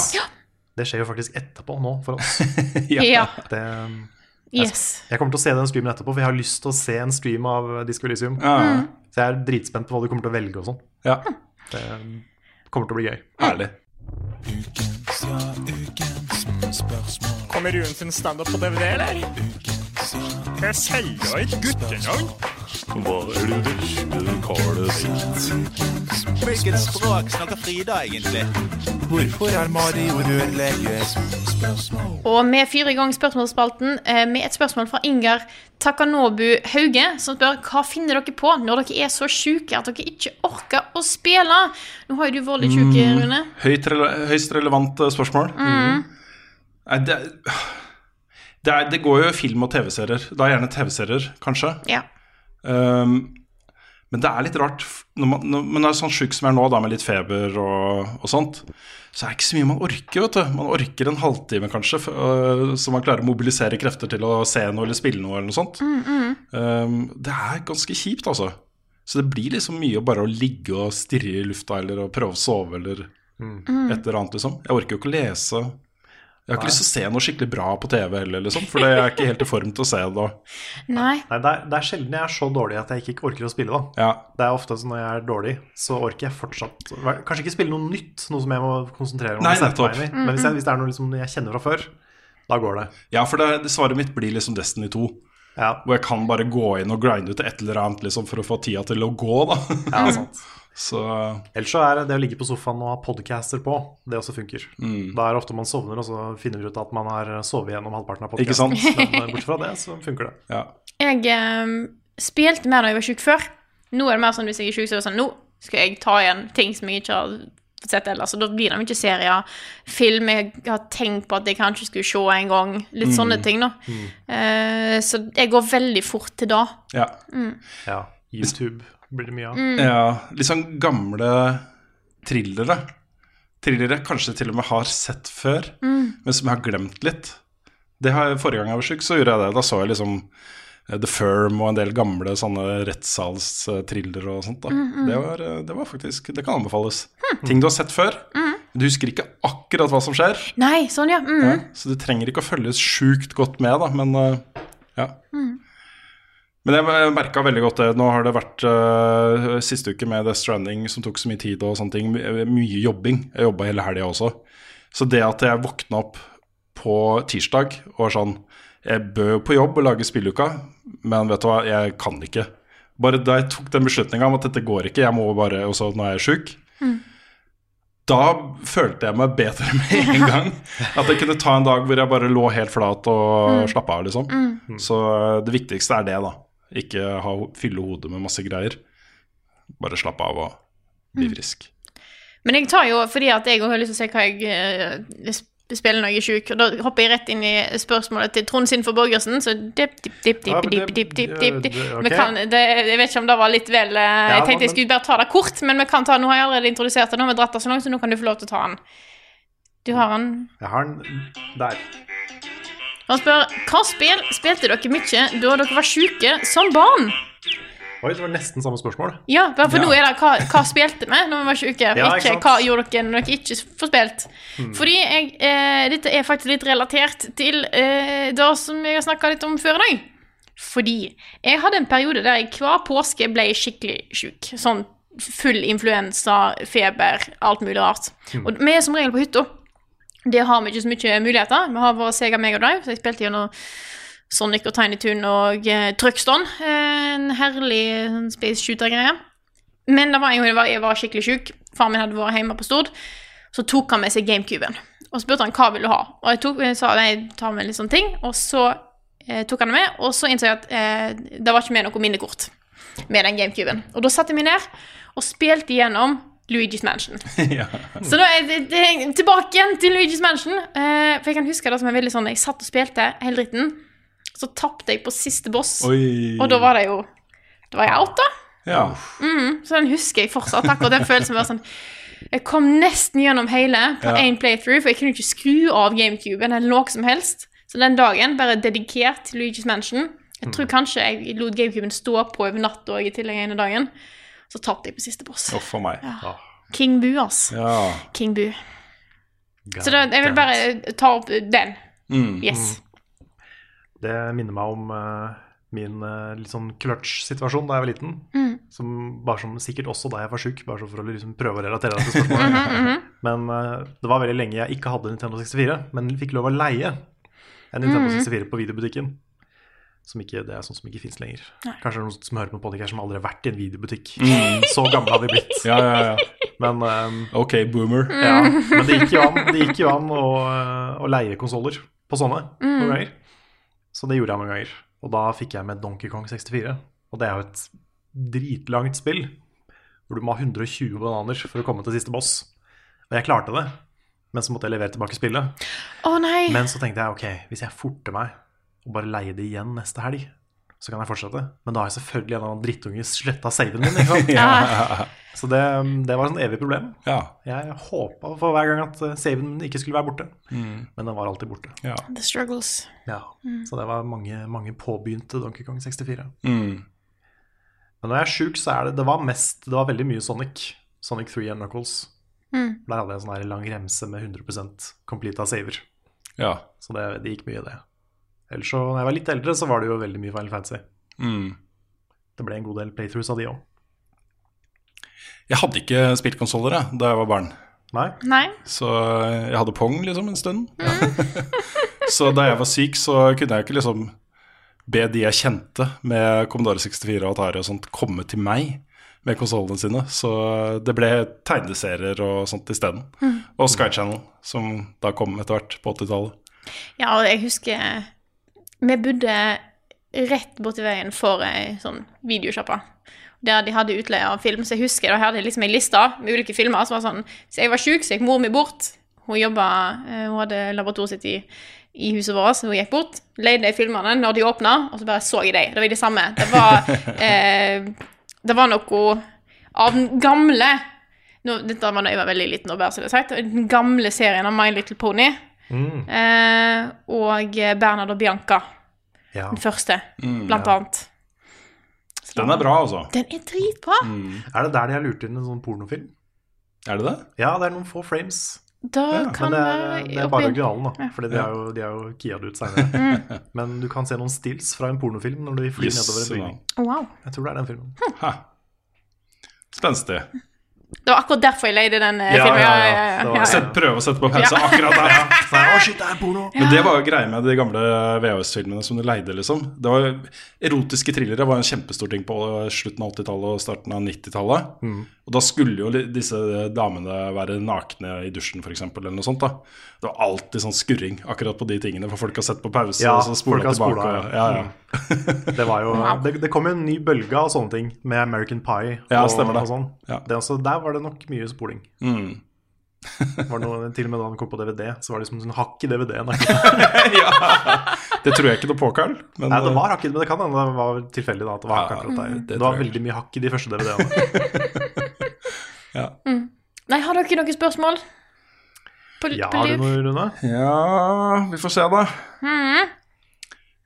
Det skjer jo faktisk etterpå nå for oss.
Ja.
Ja.
Det,
Yes.
jeg kommer til å se den streamen etterpå, for jeg har lyst til å se en stream av Disco Elysium.
Ja.
Så jeg er dritspent på hva du kommer til å velge og sånn.
ja.
Det kommer til å bli gøy.
Herlig.
Kommer Rune sin standup på DVD, eller? Jeg selger ikke guttenavn. Hva er det du kaller sitt?
Hvilket språk snakker Frida egentlig?
Og vi fyrer i gang spørsmålsspalten eh, med et spørsmål fra Ingar Takanobu Hauge, som spør hva finner dere på når dere er så sjuke at dere ikke orker å spille? Nå har jo du vært litt sjuk, Rune.
Høyt rele høyst relevant eh, spørsmål. Nei, det, er- det, er, det går jo i film og TV-serier. Det er gjerne TV-serier, kanskje.
Ja.
Um, men det er litt rart f- når man, når man er sånn sjuk som jeg er nå, da med litt feber og, og sånt, så er det ikke så mye man orker, vet du. Man orker en halvtime, kanskje, f- øh, så man klarer å mobilisere krefter til å se noe eller spille noe eller noe sånt. Um, det er ganske kjipt, altså. Så det blir liksom mye å bare å ligge og stirre i lufta eller å prøve å sove eller et eller annet, liksom. Jeg orker jo ikke å lese. Jeg har ikke lyst til å se noe skikkelig bra på TV heller, liksom, for det er jeg ikke helt i form til å se det. da.
Nei.
Nei, det er, det er sjelden jeg er så dårlig at jeg ikke orker å spille, da.
Ja,
Det er ofte sånn når jeg er dårlig, så orker jeg fortsatt Kanskje ikke spille noe nytt, noe som jeg må konsentrere meg om.
Nei,
å sette
nettopp.
meg inn i. Men hvis, jeg, hvis det er noe liksom jeg kjenner fra før, da går det.
Ja, for det, det svaret mitt blir liksom Destiny 2.
Ja,
Hvor jeg kan bare gå inn og grinde ut et eller annet liksom, for å få tida til å gå, da.
ja sant.
Så
Ellers så er det å ligge på sofaen og ha podcaster på, det også funker.
Mm.
Da er det ofte man sovner, og så finner du ut at man har sovet gjennom halvparten av podcasten.
Ikke sant?
Men eh, bortsett fra det, så funker det.
ja.
Jeg eh, spilte mer da jeg var sjuk før. Nå er det mer sånn hvis jeg er sjuk, så er det sånn Nå skal jeg ta igjen ting som jeg ikke har fått sett ellers. Og da blir det mye serier, film jeg har tenkt på at jeg kanskje skulle se en gang. Litt sånne ting, da. Eh, så jeg går veldig fort til det.
Ja.
Ja, YouTube blir det mye av.
Mm.
ja. Litt sånn gamle thrillere. Thrillere jeg kanskje til og med har sett før, men som jeg har glemt litt. Det har jeg, forrige gang jeg var sjuk, så gjorde jeg det. Da så jeg liksom eh, The Firm og en del gamle sånne rettssalstriller og sånt. Da. Det, var, eh, det var faktisk Det kan anbefales. Ting du har sett før. men Du husker ikke akkurat hva som skjer.
Nei, sånn, ja. Mm.
Ja, så du trenger ikke å følges sjukt godt med, da, men øh, ja. Men jeg merka veldig godt det. Nå har det vært øh, siste uke med Death Stranding som tok så mye tid og sånne ting. My- Mye jobbing. Jeg jobba hele helga også. Så det at jeg våkna opp på tirsdag og var sånn Jeg bør jo på jobb og lage spilluka, men vet du hva, jeg kan ikke. Bare da jeg tok den beslutninga om at dette går ikke, jeg må bare Og så nå er jeg sjuk. da følte jeg meg bedre med en gang. At jeg kunne ta en dag hvor jeg bare lå helt flat og
Mm.
slappe av, liksom. Så eh, det viktigste er det, da. Ikke ha, fylle hodet med masse greier. Bare slappe av og
Mm.
bli frisk.
Men jeg tar jo, fordi at jeg også har lyst til å se hva jeg eh, sp- spiller når jeg er sjuk, og da hopper jeg rett inn i spørsmålet til Trond Sinfor Borgersen, så dipp, dipp, dipp,
Ja,
dipp,
men
dipp,
det-
dipp, dipp, dipp, dipp.
det- ok.
Vi kan, det, jeg vet ikke om det var litt vel eh, Jeg tenkte
men-
jeg skulle bare ta det kort, men vi kan ta Nå har jeg allerede introdusert det, nå har vi dratt det så langt, så nå kan du få lov til å ta den. Du har den.
Jeg har den der.
Han spør hva spill spilte dere mye da dere var sjuke som barn?
Oi, det var nesten samme spørsmål.
Ja, bare for
Ja.
nå er det hva, hva spilte vi når vi var syke,
Ja, ikke
ikke
sant. Hmm.
hva gjorde dere når dere ikke får spilt. Fordi jeg, eh, dette er faktisk litt relatert til eh, det som jeg har snakka litt om før i dag. Fordi jeg hadde en periode der jeg hver påske ble skikkelig sjuk. Sånn full influensa, feber, alt mulig rart.
Hmm.
Og vi er som regel på hytta. Det har vi ikke så mye muligheter. Vi har vår Sega Mega Drive, så jeg spilte gjennom Sonic og Tiny Toon og eh, Truxton. Eh, En herlig sånn space shooter-greie. Men det var en gang jeg var, jeg var skikkelig syk. Faren min hadde vært hjemme på Stord. Så tok han med seg GameCuben. Og så spurte han hva vil du ha. Og jeg, tok, jeg sa nei, jeg tar med litt sånne ting. Og så eh, tok han det med, og så innså jeg at eh, det var ikke med noe minnekort med den GameCuben. Og da satte jeg meg ned og spilte igjennom Luigi's Mansion.
ja.
Så da er det, det, tilbake igjen til Luigi's Mansion. Eh, for jeg kan huske det som er veldig sånn Jeg satt og spilte hele dritten. Så tapte jeg på siste boss,
Oi.
og da var det jo Da var jeg out, da.
ja.
Så den husker jeg fortsatt. Akkurat den følelsen var sånn Jeg kom nesten gjennom hele på
Ja.
én playthrough, for jeg kunne ikke skru av GameCuben eller noe som helst. Så den dagen, bare dedikert til Luigi's Mansion Jeg
Mm.
tror kanskje jeg lot GameCuben stå på over natta i tillegg ene dagen. Så tapte jeg på siste boss.
Uff a meg.
Ah. King Bu, ass.
Ja.
King Bu. Så da, jeg vil bare ta opp den.
Mm.
Yes.
Det minner meg om eh, min eh, litt sånn clutch-situasjon da jeg var liten. Som, bare som sikkert også da jeg var sjuk, bare så for å liksom prøve å relatere deg til
Mm.
spørsmålet. Men eh, det var veldig lenge jeg ikke hadde Nintendo 64, men fikk lov å leie en Nintendo 64 på videobutikken. Som ikke, det er sånn som ikke fins lenger. Kanskje det er noen som hører på podcast som aldri har vært i en videobutikk. Så gamle har vi blitt.
ja, ja, ja.
Men eh,
Ok, boomer.
ja, men det gikk jo an, det gikk jo an å, eh, å leie konsoller på sånne noen ganger. Så det gjorde jeg noen ganger. Og da fikk jeg med Donkey Kong 64. Og det er jo et dritlangt spill hvor du må ha 120 bananer for å komme til siste boss. Og jeg klarte det, men så måtte jeg levere tilbake spillet.
Å nei.
Men så tenkte jeg ok, hvis jeg forter meg og bare leier det igjen neste helg, så kan jeg fortsette. Men da har jeg selvfølgelig en eller annen drittunge sletta saven min. Ikke sant?
Ah, Mm.
Så det, det var et sånn evig problem.
Ja.
Jeg håpa for hver gang at eh, saven ikke skulle være borte, men den var alltid borte.
ja.
The struggles.
Ja. Så det var mange, mange påbegynte Donkey Kong 64.
Mm.
Men når jeg er sjuk, så er det Det var mest Det var veldig mye Sonic. Sonic 3 and Knuckles.
Mm.
Der hadde jeg en sånn her lang remse med 100 complete av saver.
Ja.
Så det, det gikk mye i det. Ellers så, når jeg var litt eldre, så var det jo veldig mye Final Fantasy.
Mm.
Det ble en god del playthroughs av de òg.
Jeg hadde ikke spilt konsoller da jeg var barn.
Nei?
Nei.
Så jeg hadde pong liksom en stund. så da jeg var syk, så kunne jeg ikke liksom be de jeg kjente med Commodore 64 og Atari og sånt, komme til meg med konsollene sine. Så det ble tegneserier og sånt isteden.
Mm.
Og Sky Channel, som da kom etter hvert på 80-tallet.
Ja, og jeg husker eh, Vi bodde rett borti veien for ei sånn videosjappa. Der de hadde utleie av film. Så jeg husker da hadde jeg liksom ei liste med ulike filmer. som var sånn, Så jeg var sjuk, så gikk mor mi bort. Hun jobba, eh, hun hadde laboratoriet sitt i, i huset vårt, så hun gikk bort. Leide filmene når de åpna, og så bare så jeg dem. Det var de samme. Det var, eh, det var noe av den gamle nå, Dette var da jeg var veldig liten, og bare så det er sagt. Den gamle serien av My Little Pony. Eh, og Bernhard og Bianca,
Ja.
den første,
Mm,
blant annet. Så
Den er bra, altså.
Den er dritbra!
Er det der de har lurt inn en sånn pornofilm?
Mm. Er det det?
Ja, det er noen få frames.
Da
Ja, men
kan
Men
eh,
det er, eh, det er bare originalen, da. Fordi de
Ja.
har jo, de har jo kia det ut seinere. Men du kan se noen stills fra en pornofilm når de flyr
Yes,
nedover en bygning.
ja.
Wow.
Jeg tror det er den filmen.
Ha. Spenstig.
Det var akkurat derfor jeg leide den eh, filmen. Ja, ja, ja,
Det var
ja.
Sett, prøve å sette på pause
Ja.
akkurat der.
Så
Ja.
er det, Å, shit, det er porno!
Men det var jo greia med de gamle VHS-filmene som du leide, liksom. Det var, erotiske thrillere var en kjempestor ting på slutten av 80-tallet og starten av 90-tallet.
Mm.
Og da skulle jo li- disse damene være nakne i dusjen, f.eks., eller noe sånt. da Det var alltid sånn skurring akkurat på de tingene, for folk har sett på pause,
Ja,
og så spoler
folk har
de tilbake.
spolet,
og,
ja.
ja, ja.
Det, var jo, det, det kom jo en ny bølge av sånne ting, med American Pie og,
Ja, stemmer det.
og sånn.
Ja. Mm.
Det er også, der var det nok mye spoling. Var det noe, til og med da han kom på DVD, så var det liksom sånn hakk i DVD-en. Nei,
Det tror jeg ikke noe på, Carl. Men,
det var hakk i men det kan hende det var tilfeldig. da, at Det var, hakk
Ja,
akkurat der.
det
Det
tror
var
jeg.
veldig mye hakk i de første DVD-ene.
Nei, har dere noen spørsmål? På,
Ja,
på
har du
liv?
noe, Rune?
eh, Ja, vi får se, da.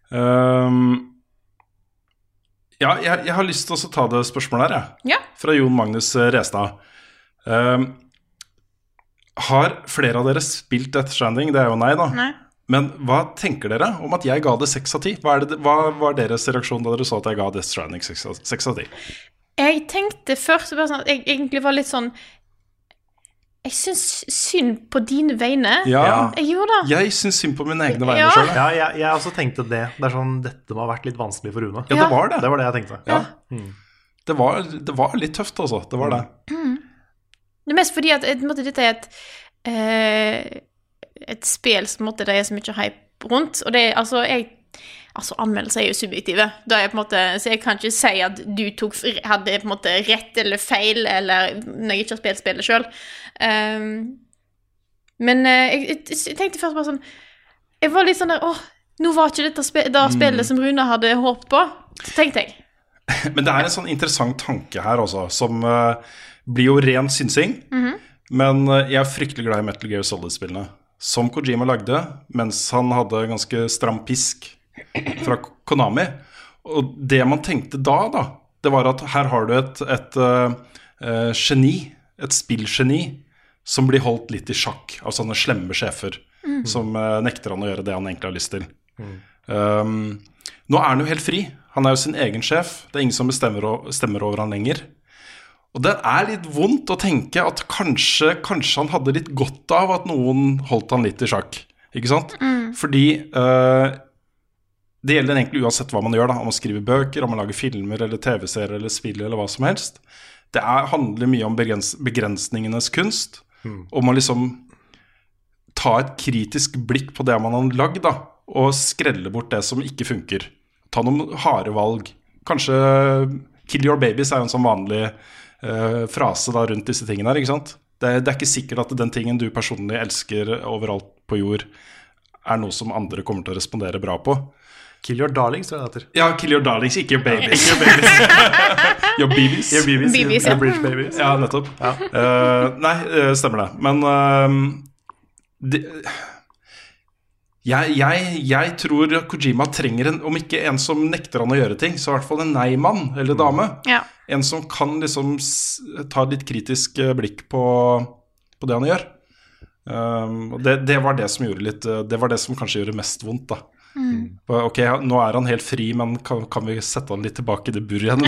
Ehm, ja, jeg, jeg har lyst til å ta det spørsmålet her, jeg.
Ja.
Fra Jon Magnus eh, Restad. Ehm, har flere av dere spilt Death Stranding? Det er jo nei, da.
Nei.
Men hva tenker dere om at jeg ga det seks av ti? Hva, er det- hva var deres reaksjon da dere så at jeg ga Death Stranding seks av- seks av ti?
Jeg tenkte først bare sånn at jeg egentlig var litt sånn Jeg syns synd på dine vegne.
Ja.
Jeg gjorde det.
Jeg syns synd på mine egne vegne
Ja.
sjøl.
Ja, jeg, jeg også tenkte det. Det er sånn, Dette må ha vært litt vanskelig for Rune.
Ja,
Ja.
det var det.
Det var det jeg tenkte.
Ja. Det, var, det var litt tøft, altså. Det var det.
Det er mest fordi at på en måte, dette er et eh, et spill som på en måte, det er så mye hype rundt. Og det er altså jeg Altså, anmeldelser er jo subjektive, da er jeg på en måte, så jeg kan ikke si at du tok, hadde på en måte rett eller feil, eller når jeg ikke har spilt spillet sjøl. men eh, jeg, jeg, jeg tenkte først bare sånn Jeg var litt sånn der Åh, nå var ikke dette spe, da spillet som Rune hadde håpet på, tenkte jeg.
Men det er en sånn interessant tanke her, altså, som eh, blir jo ren synsing. Men eh, jeg er fryktelig glad i Metal Gear Solid-spillene. Som Kojima lagde mens han hadde ganske stram pisk fra Ko- Konami. Og det man tenkte da, da, det var at her har du et, et eh, eh, geni, et spillgeni, som blir holdt litt i sjakk av sånne slemme sjefer som eh, nekter han å gjøre det han egentlig har lyst til. Um, nå er han jo helt fri. Han er jo sin egen sjef. Det er ingen som bestemmer o- stemmer over han lenger. Og det er litt vondt å tenke at kanskje, kanskje han hadde litt godt av at noen holdt han litt i sjakk. Ikke sant? Fordi eh, det gjelder egentlig uansett hva man gjør, da. om man skriver bøker, om man lager filmer eller TV-serier eller spill eller hva som helst. Det er, handler mye om begrens, begrensningenes kunst. Og man liksom ta et kritisk blikk på det man har lagd, da, og skrelle bort det som ikke funker. Ta noen harde valg. Kanskje 'kill your babies' er jo en sånn vanlig eh, frase da, rundt disse tingene her. ikke sant? Det, det er ikke sikkert at den tingen du personlig elsker overalt på jord, er noe som andre kommer til å respondere bra på.
Kill Your Darlings, tror jeg det heter.
Ja, 'kill your darlings', ikke 'your babies'. your babies.
Yeah, BBs,
BBs,
yeah,
ja.
British Babies.
Ja, nettopp. Eh, nei, eh, stemmer det. Men eh, det, jeg, jeg, jeg tror Kojima trenger en, om ikke en som nekter han å gjøre ting, så i hvert fall en nei-mann eller -dame.
Ja.
En som kan liksom s- ta et litt kritisk eh, blikk på, på det han gjør. Um, og det, det var det som gjorde litt eh, Det var det som kanskje gjorde mest vondt, da. Bare, Ok, ja, nå er han helt fri, men kan, kan vi sette han litt tilbake i det buret igjen?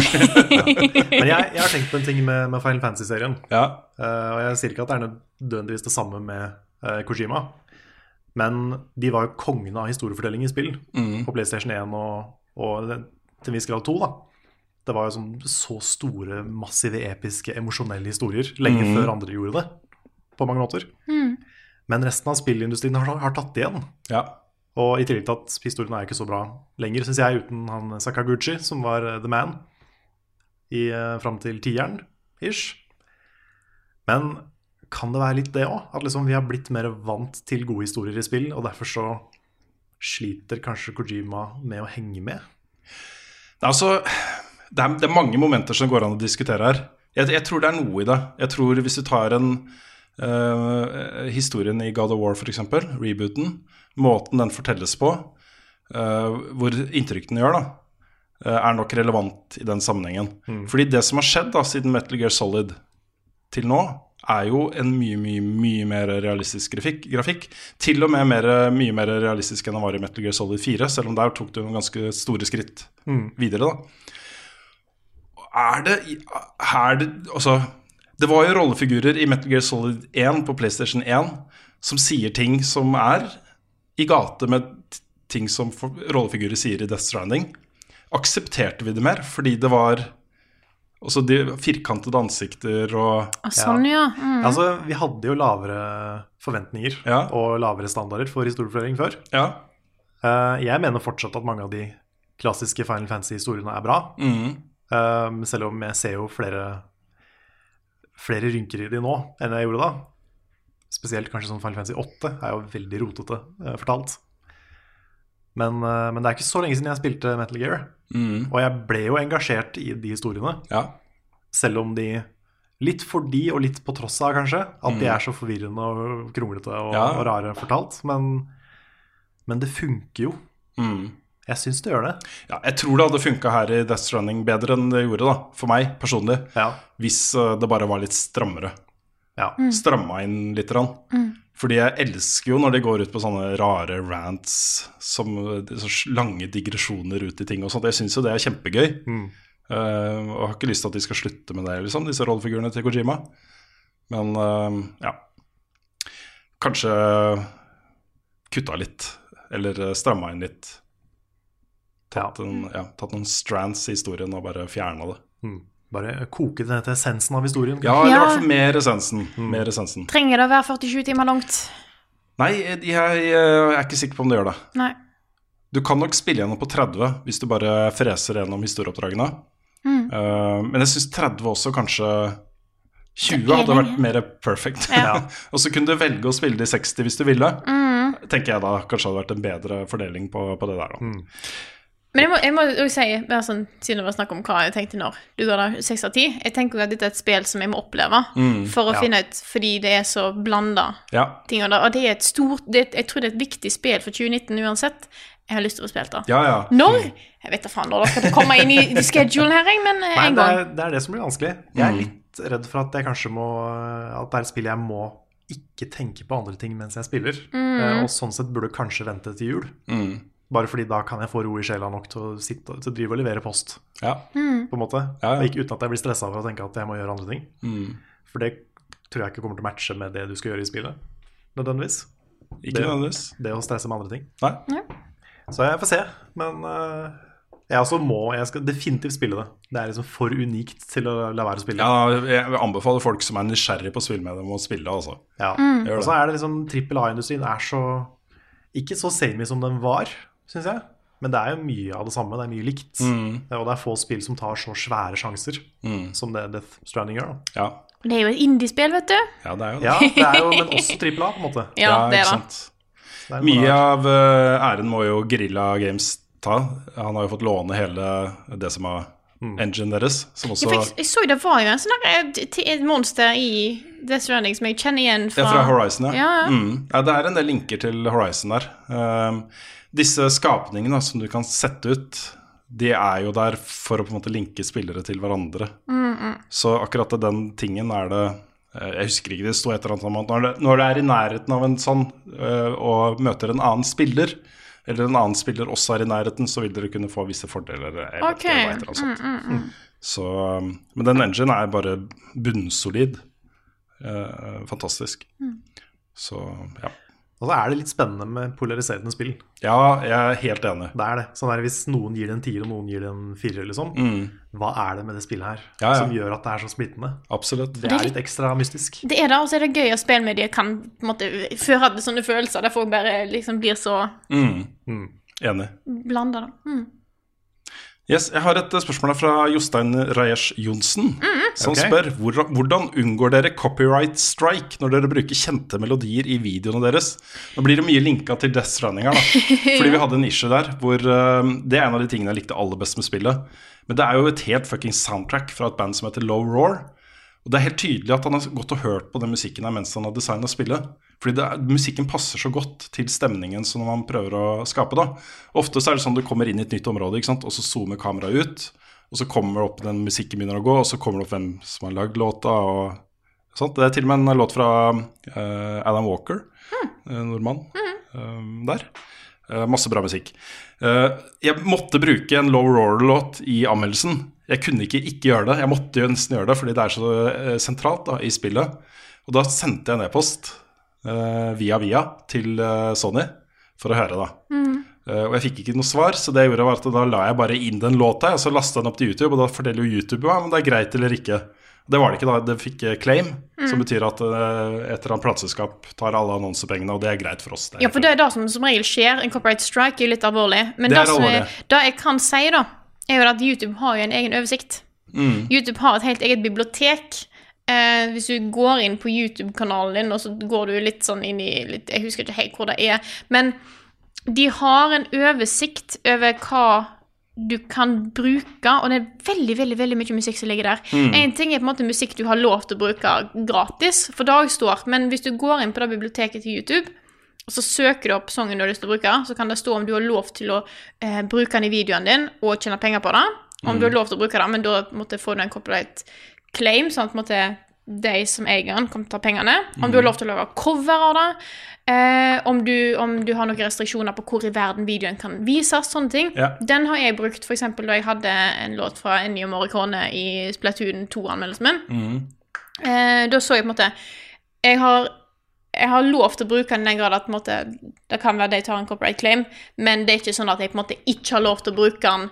Men jeg, jeg har tenkt på en ting med, med Final Fantasy-serien.
ja.
Eh, og jeg sier ikke at det er nødvendigvis det samme med eh, Kojima. Men de var jo kongene av historiefortelling i spill
Mm.
på PlayStation 1 og, og til en viss grad 2. da. Det var jo sånn, så store, massive, episke, emosjonelle historier lenge
Mm.
før andre gjorde det. På mange måter. Men resten av spillindustrien har, har tatt det igjen.
ja.
Og i tillegg til at historien er ikke så bra lenger, syns jeg, uten han Sakaguchi, som var eh, the man, i, eh, fram til tieren, ish. Men kan det være litt det òg? At liksom vi har blitt mer vant til gode historier i spill, og derfor så sliter kanskje Kojima med å henge med?
Det er, altså, det, er, det er mange momenter som går an å diskutere her. Jeg, jeg tror det er noe i det. Jeg tror Hvis du tar en eh, historien i God of War, f.eks., rebooten, måten den fortelles på, eh, hvor inntrykk den gjør, da, eh, er nok relevant i den sammenhengen. Fordi det som har skjedd da, siden Metal Gear Solid til nå, er jo en mye, mye, mye mer realistisk grafikk. grafikk. Til og med mer, mye mer realistisk enn den var i Metal Gear Solid 4, selv om der tok du noen ganske store skritt videre, da. Er det, er det Altså, Det var jo rollefigurer i Metal Gear Solid 1 på PlayStation 1 som sier ting som er i gate med t- ting som for- rollefigurer sier i Death Stranding. Aksepterte vi det mer fordi det var også de firkantede ansikter og
Å, Sånn, ja. Mm.
Altså, vi hadde jo lavere forventninger
Ja.
og lavere standarder for historiefortelling før.
Ja.
Eh, jeg mener fortsatt at mange av de klassiske Final Fantasy-historiene er bra.
Mm.
Eh, selv om jeg ser jo flere, flere rynker i de nå enn jeg gjorde da. Spesielt kanskje som Final Fantasy 8 er jo veldig rotete eh, fortalt. Men, eh, men det er ikke så lenge siden jeg spilte Metal Gear. Og jeg ble jo engasjert i de historiene.
mm, ja.
Selv om de Litt fordi, og litt på tross av, kanskje, at de er så forvirrende og kronglete og,
Ja.
og rare fortalt. Men, men det funker jo.
Mm.
Jeg syns det gjør det.
ja. Jeg tror det hadde funka her i Death Stranding bedre enn det gjorde, da, for meg personlig.
Ja.
Hvis eh, det bare var litt strammere.
Ja.
Stramma inn litt. Rann. Fordi jeg elsker jo når de går ut på sånne rare rants, som eh, så lange digresjoner ut i ting og sånt. Jeg syns jo det er kjempegøy. Eh, og har ikke lyst til at de skal slutte med det, liksom, disse rollefigurene til Kojima. Men eh, ja Kanskje kutta litt, eller eh, stramma inn litt. Tatt, en, ja, tatt noen strands i historien og bare fjerna det.
Mm. Bare koke det ned til essensen av historien.
Ja, eller i
Ja.
hvert fall Mm. mer essensen. Mer essensen.
Trenger det å være 47 timer langt?
Nei, jeg, jeg er ikke sikker på om det gjør det.
Nei.
Du kan nok spille gjennom på 30 hvis du bare freser gjennom historieoppdragene.
Mm.
Eh, men jeg syns 30 også kanskje 20 hadde vært mer perfect. og så kunne du velge å spille de 60 hvis du ville.
Mm.
Tenker jeg da kanskje hadde vært en bedre fordeling på, på det der, da.
Mm.
Men jeg må, jeg må også si, bare sånn, siden det var snakk om hva jeg tenkte når du ga det 6 av 10 Jeg tenker også at dette er et spill som jeg må oppleve for å finne ut, fordi det er så blanda
Ja.
ting. Og, det, og det er et stort det, er et- Jeg tror det er et viktig spill for 2019 uansett. Jeg har lyst til å spille det.
ja, ja.
Når? Jeg vet da faen når dere kommer inn i, i schedulen her, jeg, men eh,
Nei,
en
det,
gang.
er, det er det som blir vanskelig. Jeg er
Mm.
litt redd for at jeg kanskje må At det er et spill jeg må ikke tenke på andre ting mens jeg spiller.
Mm.
Eh, Og sånn sett burde jeg kanskje vente til jul.
Mm.
Bare fordi da kan jeg få ro i sjela nok til å, sitte, til å drive og levere post,
ja.
Mm.
på en måte.
Ja, Mm.
Og
ja.
Ikke uten at jeg blir stressa over å tenke at jeg må gjøre andre ting. For det tror jeg ikke kommer til å matche med det du skal gjøre i spillet, nødvendigvis.
Ikke nødvendigvis.
Det å stresse med andre ting.
Nei.
Så jeg får se. Men øh, jeg også må Jeg skal definitivt spille det. Det er liksom for unikt til å la være å spille.
Ja, jeg anbefaler folk som er nysgjerrig på spill med dem, å spille, altså.
Ja.
Mm.
Gjør
Og så er det liksom trippel A-industrien er så Ikke så samey som den var, syns jeg. Men det er jo mye av det samme. Det er mye likt. Og det er få spill som tar så svære sjanser som det Death Stranding gjør. Da.
Ja.
Det er jo et indiespill, vet du.
ja, det er jo det.
Ja, det er jo, men også trippel A, på en måte.
Ja, det er det.
Det er
Mye
noe der.
av eh, æren må jo Grilla Games ta. Han har jo fått låne hele det som er engine deres, som
Ja,
også
for jeg, jeg så jo det var jo en sånn der, eh, t- et monster i Death Stranding som jeg kjenner igjen
Det
fra,
er fra Horizon, ja.
Ja, ja.
Mm. ja. Det er en del linker til Horizon der. Ehm, disse skapningene da, som du kan sette ut, de er jo der for å på en måte linke spillere til hverandre. Så akkurat den tingen er det eh, Jeg husker ikke, det sto et eller annet om at når det, når det er i nærheten av en sånn eh, og møter en annen spiller, eller en annen spiller også er i nærheten, så vil dere kunne få visse fordeler. Jeg vet
Ok.
ikke, det var et eller annet sånt. Så, um, men den engine er bare bunnsolid. Eh, fantastisk. Så ja.
Og så er det litt spennende med polariserende spill.
Ja, jeg er helt enig.
Det er det. Sånn der, hvis noen gir det en tier, og noen gir det en firer, liksom, hva er det med det spillet her
Ja, ja.
som gjør at det er så splittende?
Absolutt.
Det er litt ekstra mystisk.
Det er det, og så er det gøy at spillmedier kan på en måte, føre hadde sånne følelser der folk bare liksom blir så
Mm. Enig.
blanda. da. Mm.
Yes, jeg har et eh, spørsmål her fra Jostein Rajesh Johnsen, som
Ok.
spør "Hvor- hvordan unngår dere copyright strike når dere bruker kjente melodier i videoene deres? Nå blir det mye linka til Death Stranding her, da. Fordi vi hadde en issue der hvor eh, Det er en av de tingene jeg likte aller best med spillet. Men det er jo et helt fucking soundtrack fra et band som heter Low Roar. Og det er helt tydelig at han har gått og hørt på den musikken her mens han har designa spillet. Fordi det er, musikken passer så godt til stemningen som man prøver å skape. da. Ofte så er det sånn du kommer inn i et nytt område, ikke sant? og så zoomer kameraet ut. Og så kommer det opp den musikken begynner å gå, og så kommer det opp hvem som har lagd låta. og sånt. Det er til og med en låt fra eh, Alan Walker, eh, nordmann, eh, der. Eh, masse bra musikk. Eh, jeg måtte bruke en Low Roar-låt i anmeldelsen. Jeg kunne ikke ikke gjøre det. Jeg måtte jo nesten gjøre det, fordi det er så eh, sentralt da, i spillet. Og da sendte jeg en e-post eh, via via til eh, Sony for å høre, da.
Mm.
Eh, og jeg fikk ikke noe svar, så det jeg gjorde var at da la jeg bare inn den låta, og så lasta den opp til YouTube, og da forteller jo YouTube meg om det er greit eller ikke. Det var det ikke, da. Det fikk eh, claim,
Mm.
som betyr at eh, et eller annet plateselskap tar alle annonsepengene, og det er greit for oss.
Ja, for det er det som som regel skjer. En copyright strike er jo litt alvorlig. Men det,
Det er
som
alvorlig.
er, det jeg kan si, da, er jo at YouTube har jo en egen oversikt. YouTube har et helt eget bibliotek. Eh, hvis du går inn på YouTube-kanalen din, og så går du litt sånn inn i litt, Jeg husker ikke helt hvor det er, men de har en oversikt over hva du kan bruke, og det er veldig veldig, veldig mye musikk som ligger der. En ting er på en måte musikk du har lov til å bruke gratis, for dag står, men hvis du går inn på det biblioteket til YouTube, og så søker du opp sangen du har lyst til å bruke, så kan det stå om du har lov til å eh, bruke den i videoen din og tjene penger på det. Om du har lov til å bruke den, men da måtte få du en copyright claim, sånn at måtte, de som eier den, kan ta pengene. Om du har lov til å lage cover av det. Eh, om, du, om du har noen restriksjoner på hvor i verden videoen kan vises, sånne ting.
Ja.
Den har jeg brukt f.eks. da jeg hadde en låt fra Ennio Morricone i Splatoon 2-anmeldelsen min. Eh, da så jeg på en måte jeg har, jeg har lov til å bruke den i den grad at på en måte, det kan være de tar en copyright claim, men det er ikke sånn at jeg på en måte ikke har lov til å bruke den,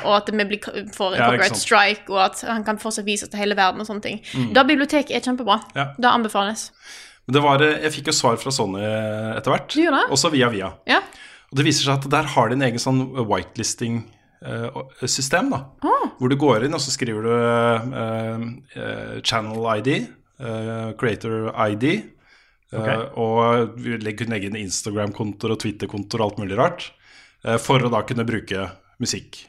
og at vi blir, får en
Ja, ikke
copyright
sant. Mm.
strike, og at han kan fortsatt vises til hele verden og sånne ting. Da biblioteket er kjempebra.
Ja.
Det anbefales.
Men det var, jeg fikk jo svar fra Sony etter hvert,
Du gjorde det?
også via via.
Ja.
Og det viser seg at der har de en egen sånn whitelisting-system, da. Hvor du går inn, og så skriver du eh, eh, channel ID, eh, creator ID, eh, og vi leg- kunne legge inn Instagram-kontoer og Twitter-kontoer og alt mulig rart, eh, for å da kunne bruke musikk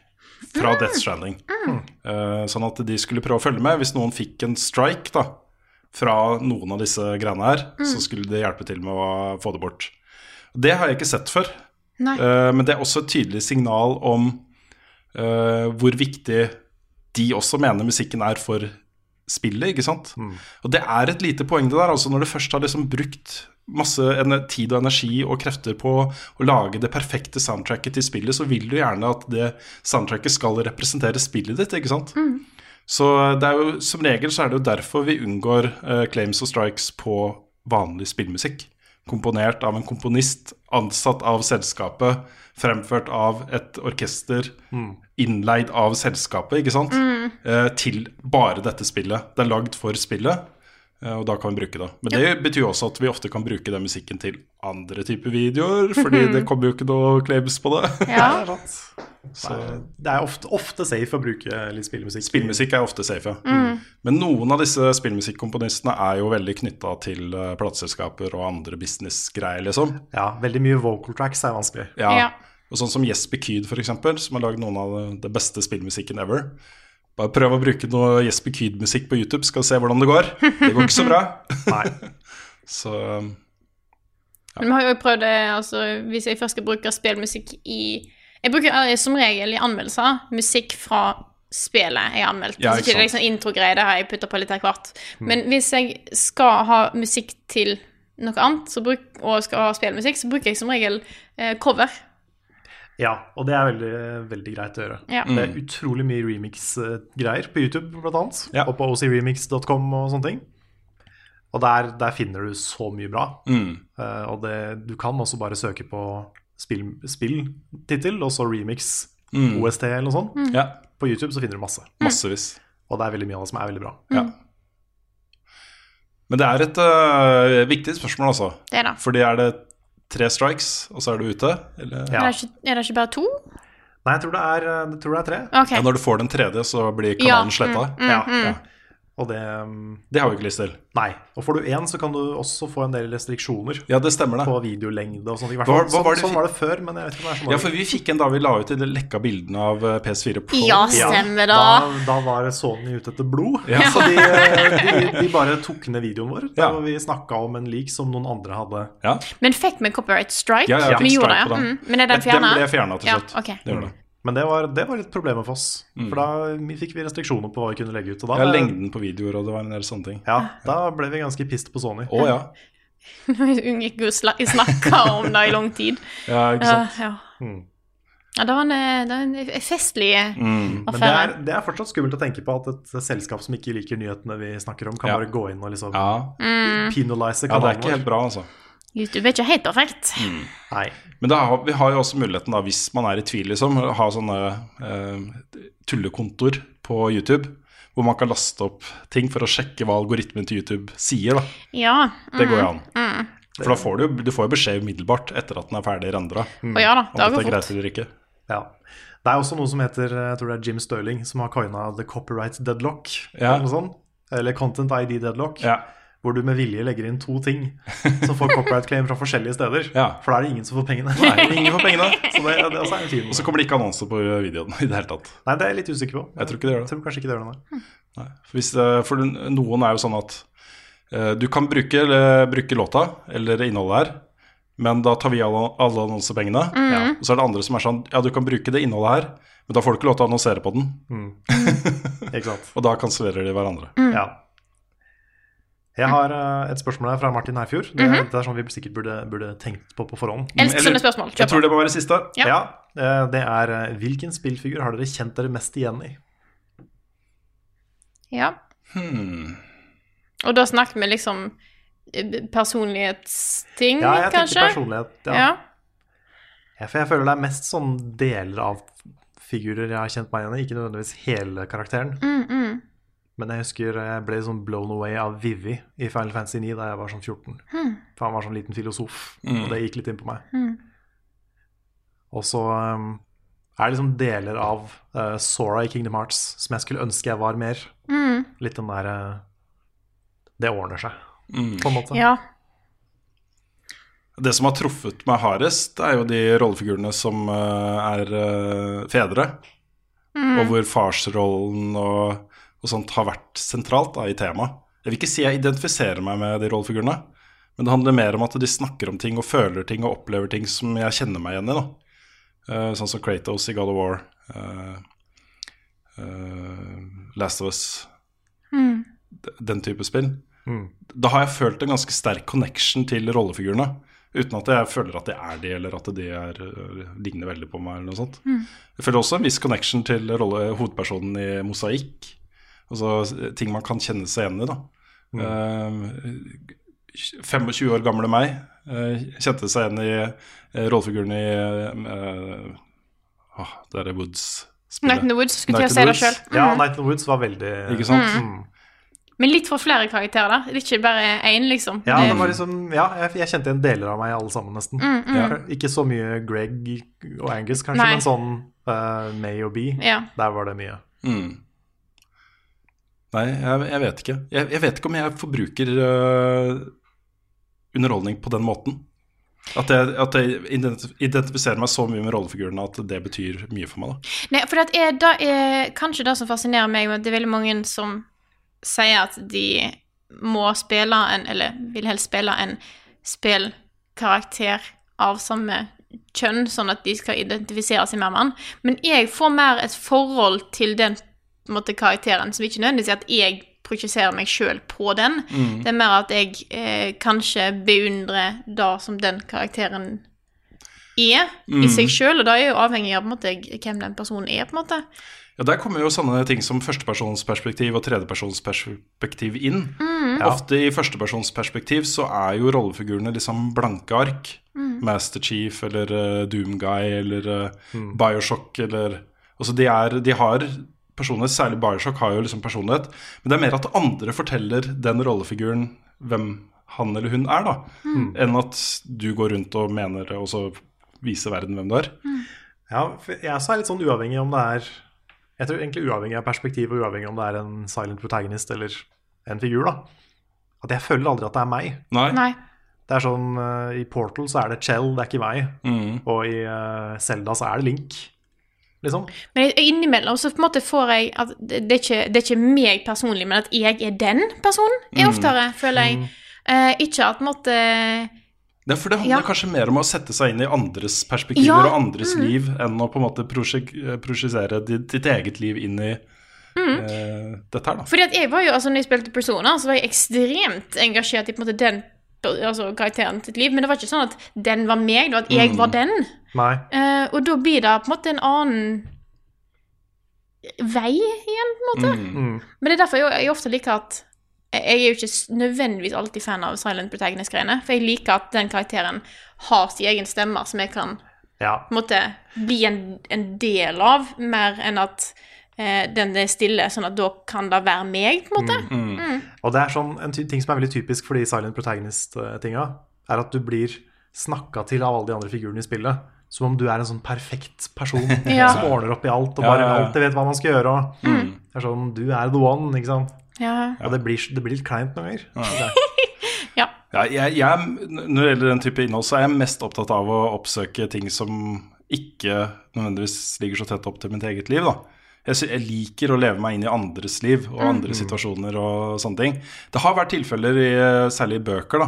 fra Death Stranding. Eh, sånn at de skulle prøve å følge med. Hvis noen fikk en strike, da, fra noen av disse greiene her, så skulle det hjelpe til med å få det bort. Det har jeg ikke sett før,
Nei.
eh, men det er også et tydelig signal om eh, hvor viktig de også mener musikken er for spillet, ikke sant? Og det er et lite poeng det der, altså når du først har liksom brukt masse ener- tid og energi og krefter på å lage det perfekte soundtracket til spillet, så vil du gjerne at det soundtracket skal representere spillet ditt, ikke sant? Så det er jo, som regel så er det jo derfor vi unngår eh, claims og strikes på vanlig spillmusikk. Komponert av en komponist, ansatt av selskapet, fremført av et orkester, innleid av selskapet, ikke sant? Eh, til bare dette spillet. Det er lagd for spillet, eh, og da kan vi bruke det. Men det betyr jo også at vi ofte kan bruke den musikken til andre typer videoer, fordi det kommer jo ikke noe claims på det.
Ja.
Så det er ofte, ofte safe å bruke litt spillmusikk.
Spillmusikk er ofte safe, ja. Men noen av disse spillmusikkomponistene er jo veldig knytta til eh, plateselskaper og andre businessgreier, liksom.
Ja, veldig mye vocal tracks er vanskelig.
Ja.
Ja.
Og sånn som Jesper Kyd, for eksempel, som har lagd noen av det beste spillmusikken ever. Bare prøv å bruke noe Jesper Kyd-musikk på YouTube, skal se hvordan det går. Det går ikke så bra.
Nei.
Så um,
Men vi har jo også prøvd det, altså, hvis jeg først skal bruke spillmusikk i Jeg bruker eh, som regel i anmeldelser musikk fra spillet jeg har anmeldt.
Ja,
så
ikke
ikke det er
sant. Mm.
liksom introgreier, det har jeg putta på litt av hvert. Men hvis jeg skal ha musikk til noe annet, så bruk, og skal ha spillmusikk, så bruker jeg som regel eh, cover.
Ja, og det er veldig, veldig greit å gjøre.
Ja.
Det
Mm.
er utrolig mye remix-greier på YouTube, blant annet.
Ja.
Og på ocremix.com og sånne ting. Og der, der finner du så mye bra.
mm.
Eh, og det, du kan også bare søke på spill- spilltittel, og så remix
Mm.
OST eller noe sånt.
Ja,
På YouTube så finner du masse.
massevis.
Og det er veldig mye av det som er veldig bra.
Ja. Men det er et eh, viktig spørsmål, altså.
Det er det.
Fordi er det tre strikes, og så er du ute? Eller?
Ja.
Er, det ikke, er det ikke bare to?
Nei, jeg tror det er, jeg tror det er tre.
OK.
Ja, når du får den tredje, så blir kanalen
Ja,
sletta.
Ja, ja. Og det um,
Det har vi ikke lyst til.
Nei. Og får du én, så kan du også få en del restriksjoner
Ja, det stemmer det.
på videolengde og sånt. I hvert
Hva-
fall.
hva
Sånn,
var det
sånn
fi-
var det før, men jeg vet ikke om det er sånn.
Ja, for vi fikk en da vi la ut de lekka bildene av eh, PS4 Pro.
Ja,
Ja,
stemmer
da.
da.
Da var Sony ute etter blod.
Ja.
Så de, eh, de, de bare tok ned videoen vår. Der
Ja.
hvor vi snakka om en leak som noen andre hadde.
Ja,
Men fikk vi copyright strike?
Ja, ja, jeg fikk
vi gjorde det,
strike på
ja.
den.
Mm. Men er den fjerna?
Den ble fjerna til
Ja,
slutt.
ok.
Det gjorde det.
Men det var, det var litt problemet for oss. For da fikk vi restriksjoner på hva vi kunne legge ut. Og da,
Mm. Ja, lengden på videoer og det var en del sånne ting.
ja, da ble vi ganske pissed på Sony.
Å ja.
Unngikk å snakke om det i lang tid.
ja ikke
Ja,
sant?
ja. Ja, det var en, eh, det var en eh, festlig eh,
Mm.
Men det
affære.
er, det er fortsatt skummelt å tenke på at et selskap som ikke liker nyhetene vi snakker om, kan
Ja.
bare gå inn og liksom
Ja.
penalise
ja, det er
kanalen
ikke helt bra, altså.
YouTube er ikke helt perfekt.
Nei.
Men det har, vi har jo også muligheten, da, hvis man er i tvil, liksom, å ha sånne eh, tullekontoer på YouTube. Hvor man kan laste opp ting for å sjekke hva algoritmen til YouTube sier. da.
Ja.
Det går jo an.
Mm,
For da får du, jo- du får jo beskjed umiddelbart etter at den er ferdig rendra.
Og ja da,
Om
det
dette
går
er
fort.
greit eller ikke.
Ja. Det er også noe som heter eh, jeg tror det er Jim Sterling som har coina The Copyright Deadlock.
Ja.
Eller, noe sånt. eller Content ID Deadlock.
Ja.
Hvor du med vilje legger inn to ting som får copyright claim fra forskjellige steder.
Ja.
For da er det ingen som får pengene.
Nei, ingen får pengene.
Så det, det også er altså en fin
Og så kommer det ikke annonser på videoen i det hele tatt.
Nei, det er jeg litt usikker på.
Jeg tror ikke det gjør det.
Jeg tror kanskje ikke det gjør det. nei.
Nei. For, hvis, eh, for den- noen er jo sånn at eh, du kan bruke, eh, bruke låta eller innholdet her, men da tar vi alle, alle annonsepengene. Ja.
Mm.
Og så er det andre som er sånn ja, du kan bruke det innholdet her, men da får du ikke lov til å annonsere på den.
Ikke sant?
Og da kansellerer de hverandre.
Mm.
Ja. Jeg har eh, et spørsmål her fra Martin Herfjord. Det,
Mhm.
det er sånn vi sikkert burde, burde tenkt på på forhånd.
Elsker
Mm. Eller-
sånne spørsmål.
Jeg
Kjør
tror
på.
det må være siste.
Ja.
Ja, eh, det er eh, Hvilken spillfigur har dere kjent dere mest igjen i?
Ja.
Hmm.
Og da snakker vi liksom eh, personlighetsting,
Ja, jeg tenker
kanskje?
personlighet. Ja.
Ja.
Jeg, for jeg føler det er mest sånn deler av figurer jeg har kjent meg igjen i, ikke nødvendigvis hele karakteren.
Mm, mm.
Men jeg husker jeg ble sånn blown away av Vivi i Final Fantasy 9 da jeg var sånn 14.
Hmm.
For han var sånn liten filosof,
Mm.
og det gikk litt inn på meg. Og så um, er det liksom deler av eh, Sora i Kingdom Hearts som jeg skulle ønske jeg var mer.
Hmm.
Litt den der eh, Det ordner seg,
Mm.
på en måte.
ja.
Det som har truffet meg hardest, er jo de rollefigurene som eh, er eh, fedre. Og hvor farsrollen og, og sånt har vært sentralt da, i temaet. Jeg vil ikke si jeg identifiserer meg med de rollefigurene, men det handler mer om at de snakker om ting og føler ting og opplever ting som jeg kjenner meg igjen i. da. Eh, sånn som Kratos i God of War, eh, eh, Last of Us, D- den type spill
Mm.
da har jeg følt en ganske sterk connection til rollefigurene. Uten at jeg føler at det er de, eller at de er, øh, ligner veldig på meg. eller noe sånt.
Mm.
Jeg føler også en viss connection til rolle, hovedpersonen i Mosaikk. Altså eh, ting man kan kjenne seg igjen i. da. Eh, 25 år gamle meg eh, kjente seg igjen i eh, rollefiguren i eh, åh, Det derre
Night in
Woods-spillet.
the Woods skulle
Night
til
in
å
the
si det Mm.
Woods.
sjøl.
Ja, Night in the Woods var veldig Mm.
Ikke sant?
Men litt for flere karakterer, da. Det er ikke bare én, liksom.
Ja, det
Det-
var liksom, ja jeg, jeg kjente igjen deler av meg i alle sammen, nesten. Ikke så mye Greg og Angus, kanskje,
Mm, Nei.
men sånn eh, May og B.
ja.
Der var det mye.
Mm. Nei, jeg, jeg vet ikke. Jeg, jeg vet ikke om jeg forbruker øh, underholdning på den måten. At jeg, at jeg identif- identifiserer meg så mye med rollefigurene at det betyr mye for meg. Da.
Nei, for det er, da er kanskje det som fascinerer meg, med at det er veldig mange som sier at de må spille en, eller vil helst spille en spillkarakter av samme kjønn, sånn at de skal identifisere seg mer med han. Men jeg får mer et forhold til den på en måte, karakteren, som ikke nødvendigvis er at jeg projiserer meg sjøl på den. Det er mer at jeg eh, kanskje beundrer det som den karakteren er i seg sjøl, og da er jeg jo avhengig av på en måte, hvem den personen er, på en måte.
Ja, der kommer jo sånne ting som førstepersonsperspektiv og tredjepersonsperspektiv inn. Ofte i førstepersonsperspektiv så er jo rollefigurene liksom blanke ark. Master Chief eller eh, Doomguy eller eh, Bioshock eller Altså de, er, de har personlighet, særlig Bioshock har jo liksom personlighet, men det er mer at andre forteller den rollefiguren hvem han eller hun er, da, enn at du går rundt og mener det, og så viser verden hvem du er.
Ja, for jeg også er litt sånn uavhengig om det er Jeg tror egentlig uavhengig av perspektiv og uavhengig om det er en silent protagonist eller en figur, da. At jeg føler aldri at det er meg.
Nei.
Nei.
Det er sånn eh, I Portal så er det Chell, det er ikke meg.
Mm.
Og i eh, Zelda så er det Link, liksom.
Men jeg- innimellom så på en måte får jeg at det det er ikke, det er ikke meg personlig, men at jeg er den personen, er oftere, føler jeg. Eh, ikke at på en måte
Ja, for det handler
Ja.
kanskje mer om å sette seg inn i andres perspektiver
Ja, mm.
og andres liv, enn å på en måte prosjek- eh, prosjisere ditt, ditt eget liv inn i
Mm.
eh, dette her, da.
Fordi at jeg var jo, altså når jeg spilte Persona, så var jeg ekstremt engasjert i på en måte den altså, karakteren sitt liv. Men det var ikke sånn at den var meg, det var at jeg var den.
Nei.
Eh, og da blir det på en måte en annen vei igjen, på en måte.
Mm.
Men det er derfor jeg, jeg ofte liker at Jeg er jo ikke s- nødvendigvis alltid fan av Silent Protagonist-greiene, for jeg liker at den karakteren har sin egen stemme som jeg kan
Ja.
på en måte bli en, en del av, mer enn at eh, den er stille, sånn at da kan det være meg, på en måte.
Og det er sånn, en ty ting som er veldig typisk for de silent protagonist-tinga, er at du blir snakka til av alle de andre figurene i spillet. Som om du er en sånn perfekt person
Ja. Mm.
som ordner opp i alt og
Ja,
bare
ja, ja.
alltid vet hva man skal gjøre. Og det er sånn, Du er the one, ikke sant?
Mm.
Ja.
Og det blir, det blir litt kleint noen ganger.
ja.
Ja, jeg, jeg, er- når det gjelder den type innhold, så er jeg mest opptatt av å oppsøke ting som ikke nødvendigvis ligger så tett opp til mitt eget liv. da. Jeg, sy- jeg liker å leve meg inn i andres liv og andre situasjoner og sånne ting. Det har vært tilfeller, i, eh, særlig i bøker, da,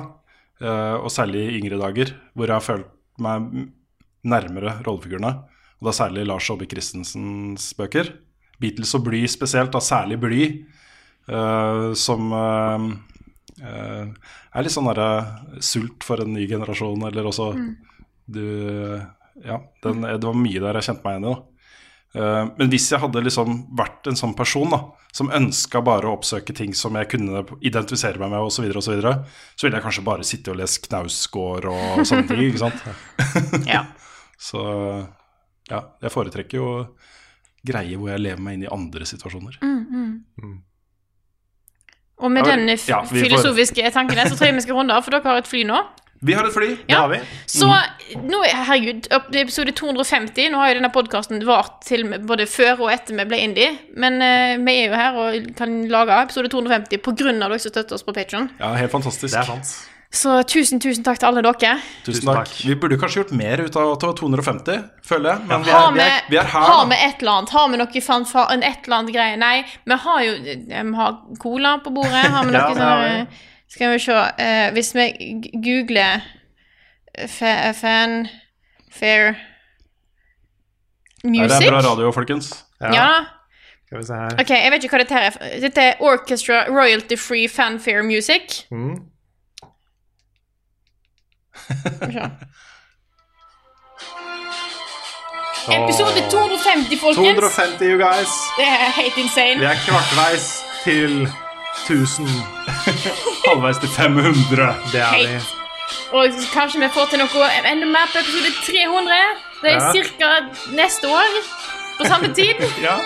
eh, og særlig i yngre dager, hvor jeg har følt meg m- nærmere rollefigurene. Og da særlig Lars Aabye Christensens bøker. Beatles og Bly spesielt, da særlig Bly, eh, som eh, Eh, er litt sånn der, eh, sult for en ny generasjon, eller også du Ja, den, det var mye der jeg kjente meg igjen i, da. Eh, men hvis jeg hadde liksom vært en sånn person da, som ønska bare å oppsøke ting som jeg kunne identifisere meg med, osv., så, videre, og så, videre, så ville jeg kanskje bare sitte og lese Knausgård og sånne ting, ikke sant.
ja.
Så ja, jeg foretrekker jo greier hvor jeg lever meg inn i andre situasjoner.
Og med
Ja,
den
vi-
f
ja, vi får-
filosofiske tanken der, så tror jeg vi skal runde av, for dere har et fly nå.
Vi har et fly!
Ja.
har vi.
Så
Mm.
nå, er- herregud, opp til episode 250. Nå har jo denne podkasten vart til og med både før og etter vi ble indie, men eh, vi er jo her og kan lage episode 250 på grunn av dere som støtter oss på Patreon
Ja, helt fantastisk.
Det er sant.
Så tusen, tusen takk til alle dere.
Tusen
Tusen
takk.
takk.
Vi burde kanskje gjort mer ut av at det var 250, føler jeg. Men
Har
vi,
vi,
er, vi er her.
har
da.
vi et eller annet? Har vi noe fanfar, en et eller annet greie? Nei, vi har jo eh, vi har cola på bordet. Har vi noe
Ja, det
sånn
har vi.
eh, Skal vi se eh, Hvis vi g- googler eh, fa- fan fair
Ja, det
music
er bra radio, folkens.
Ja.
Ja.
Skal vi se her.
Ok, jeg vet ikke hva dette her er. Dette er Orchestra Royalty Free Fanfare Music.
Mm.
Skal vi se. Episode 250, folkens!
250, you guys.
Det er helt insane.
Vi er kvartveis til 1000.
Halvveis til 500.
Det er vi.
Helt. Og kanskje vi får til noe enda mer på episode 300. Det er
Ja.
cirka neste år. På samme tid.
Ja.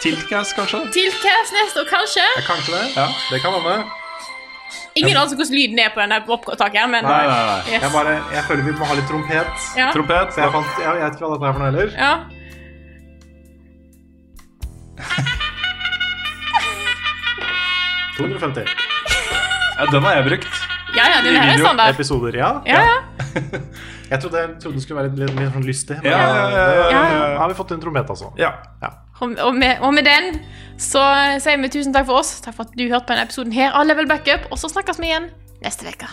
Tiltcast, kanskje?
Tilcast neste år, kanskje.
Kanskje det.
Ja.
Det kan være med.
Ingen aner hvordan lyden er på denne opptakeren, men
Nei, nei, nei.
Yes.
Jeg, bare, jeg føler vi må ha litt trompet.
Ja.
Trompet.
Så jeg, fant, jeg, jeg vet ikke hva dette er for noe heller.
Ja.
Ja, den har jeg brukt.
ja, ja, den her er standard.
Episoder, ja.
Ja, ja.
Jeg trodde, jeg trodde det skulle være litt, litt mer sånn lystig. Men
Ja, ja, ja, ja,
ja.
Da har vi fått en trompet, altså.
Ja.
Og, og, med, og med den så sier vi tusen takk for oss. Takk for at du hørte på denne episoden her av Level Backup. Og så snakkes vi igjen neste uke.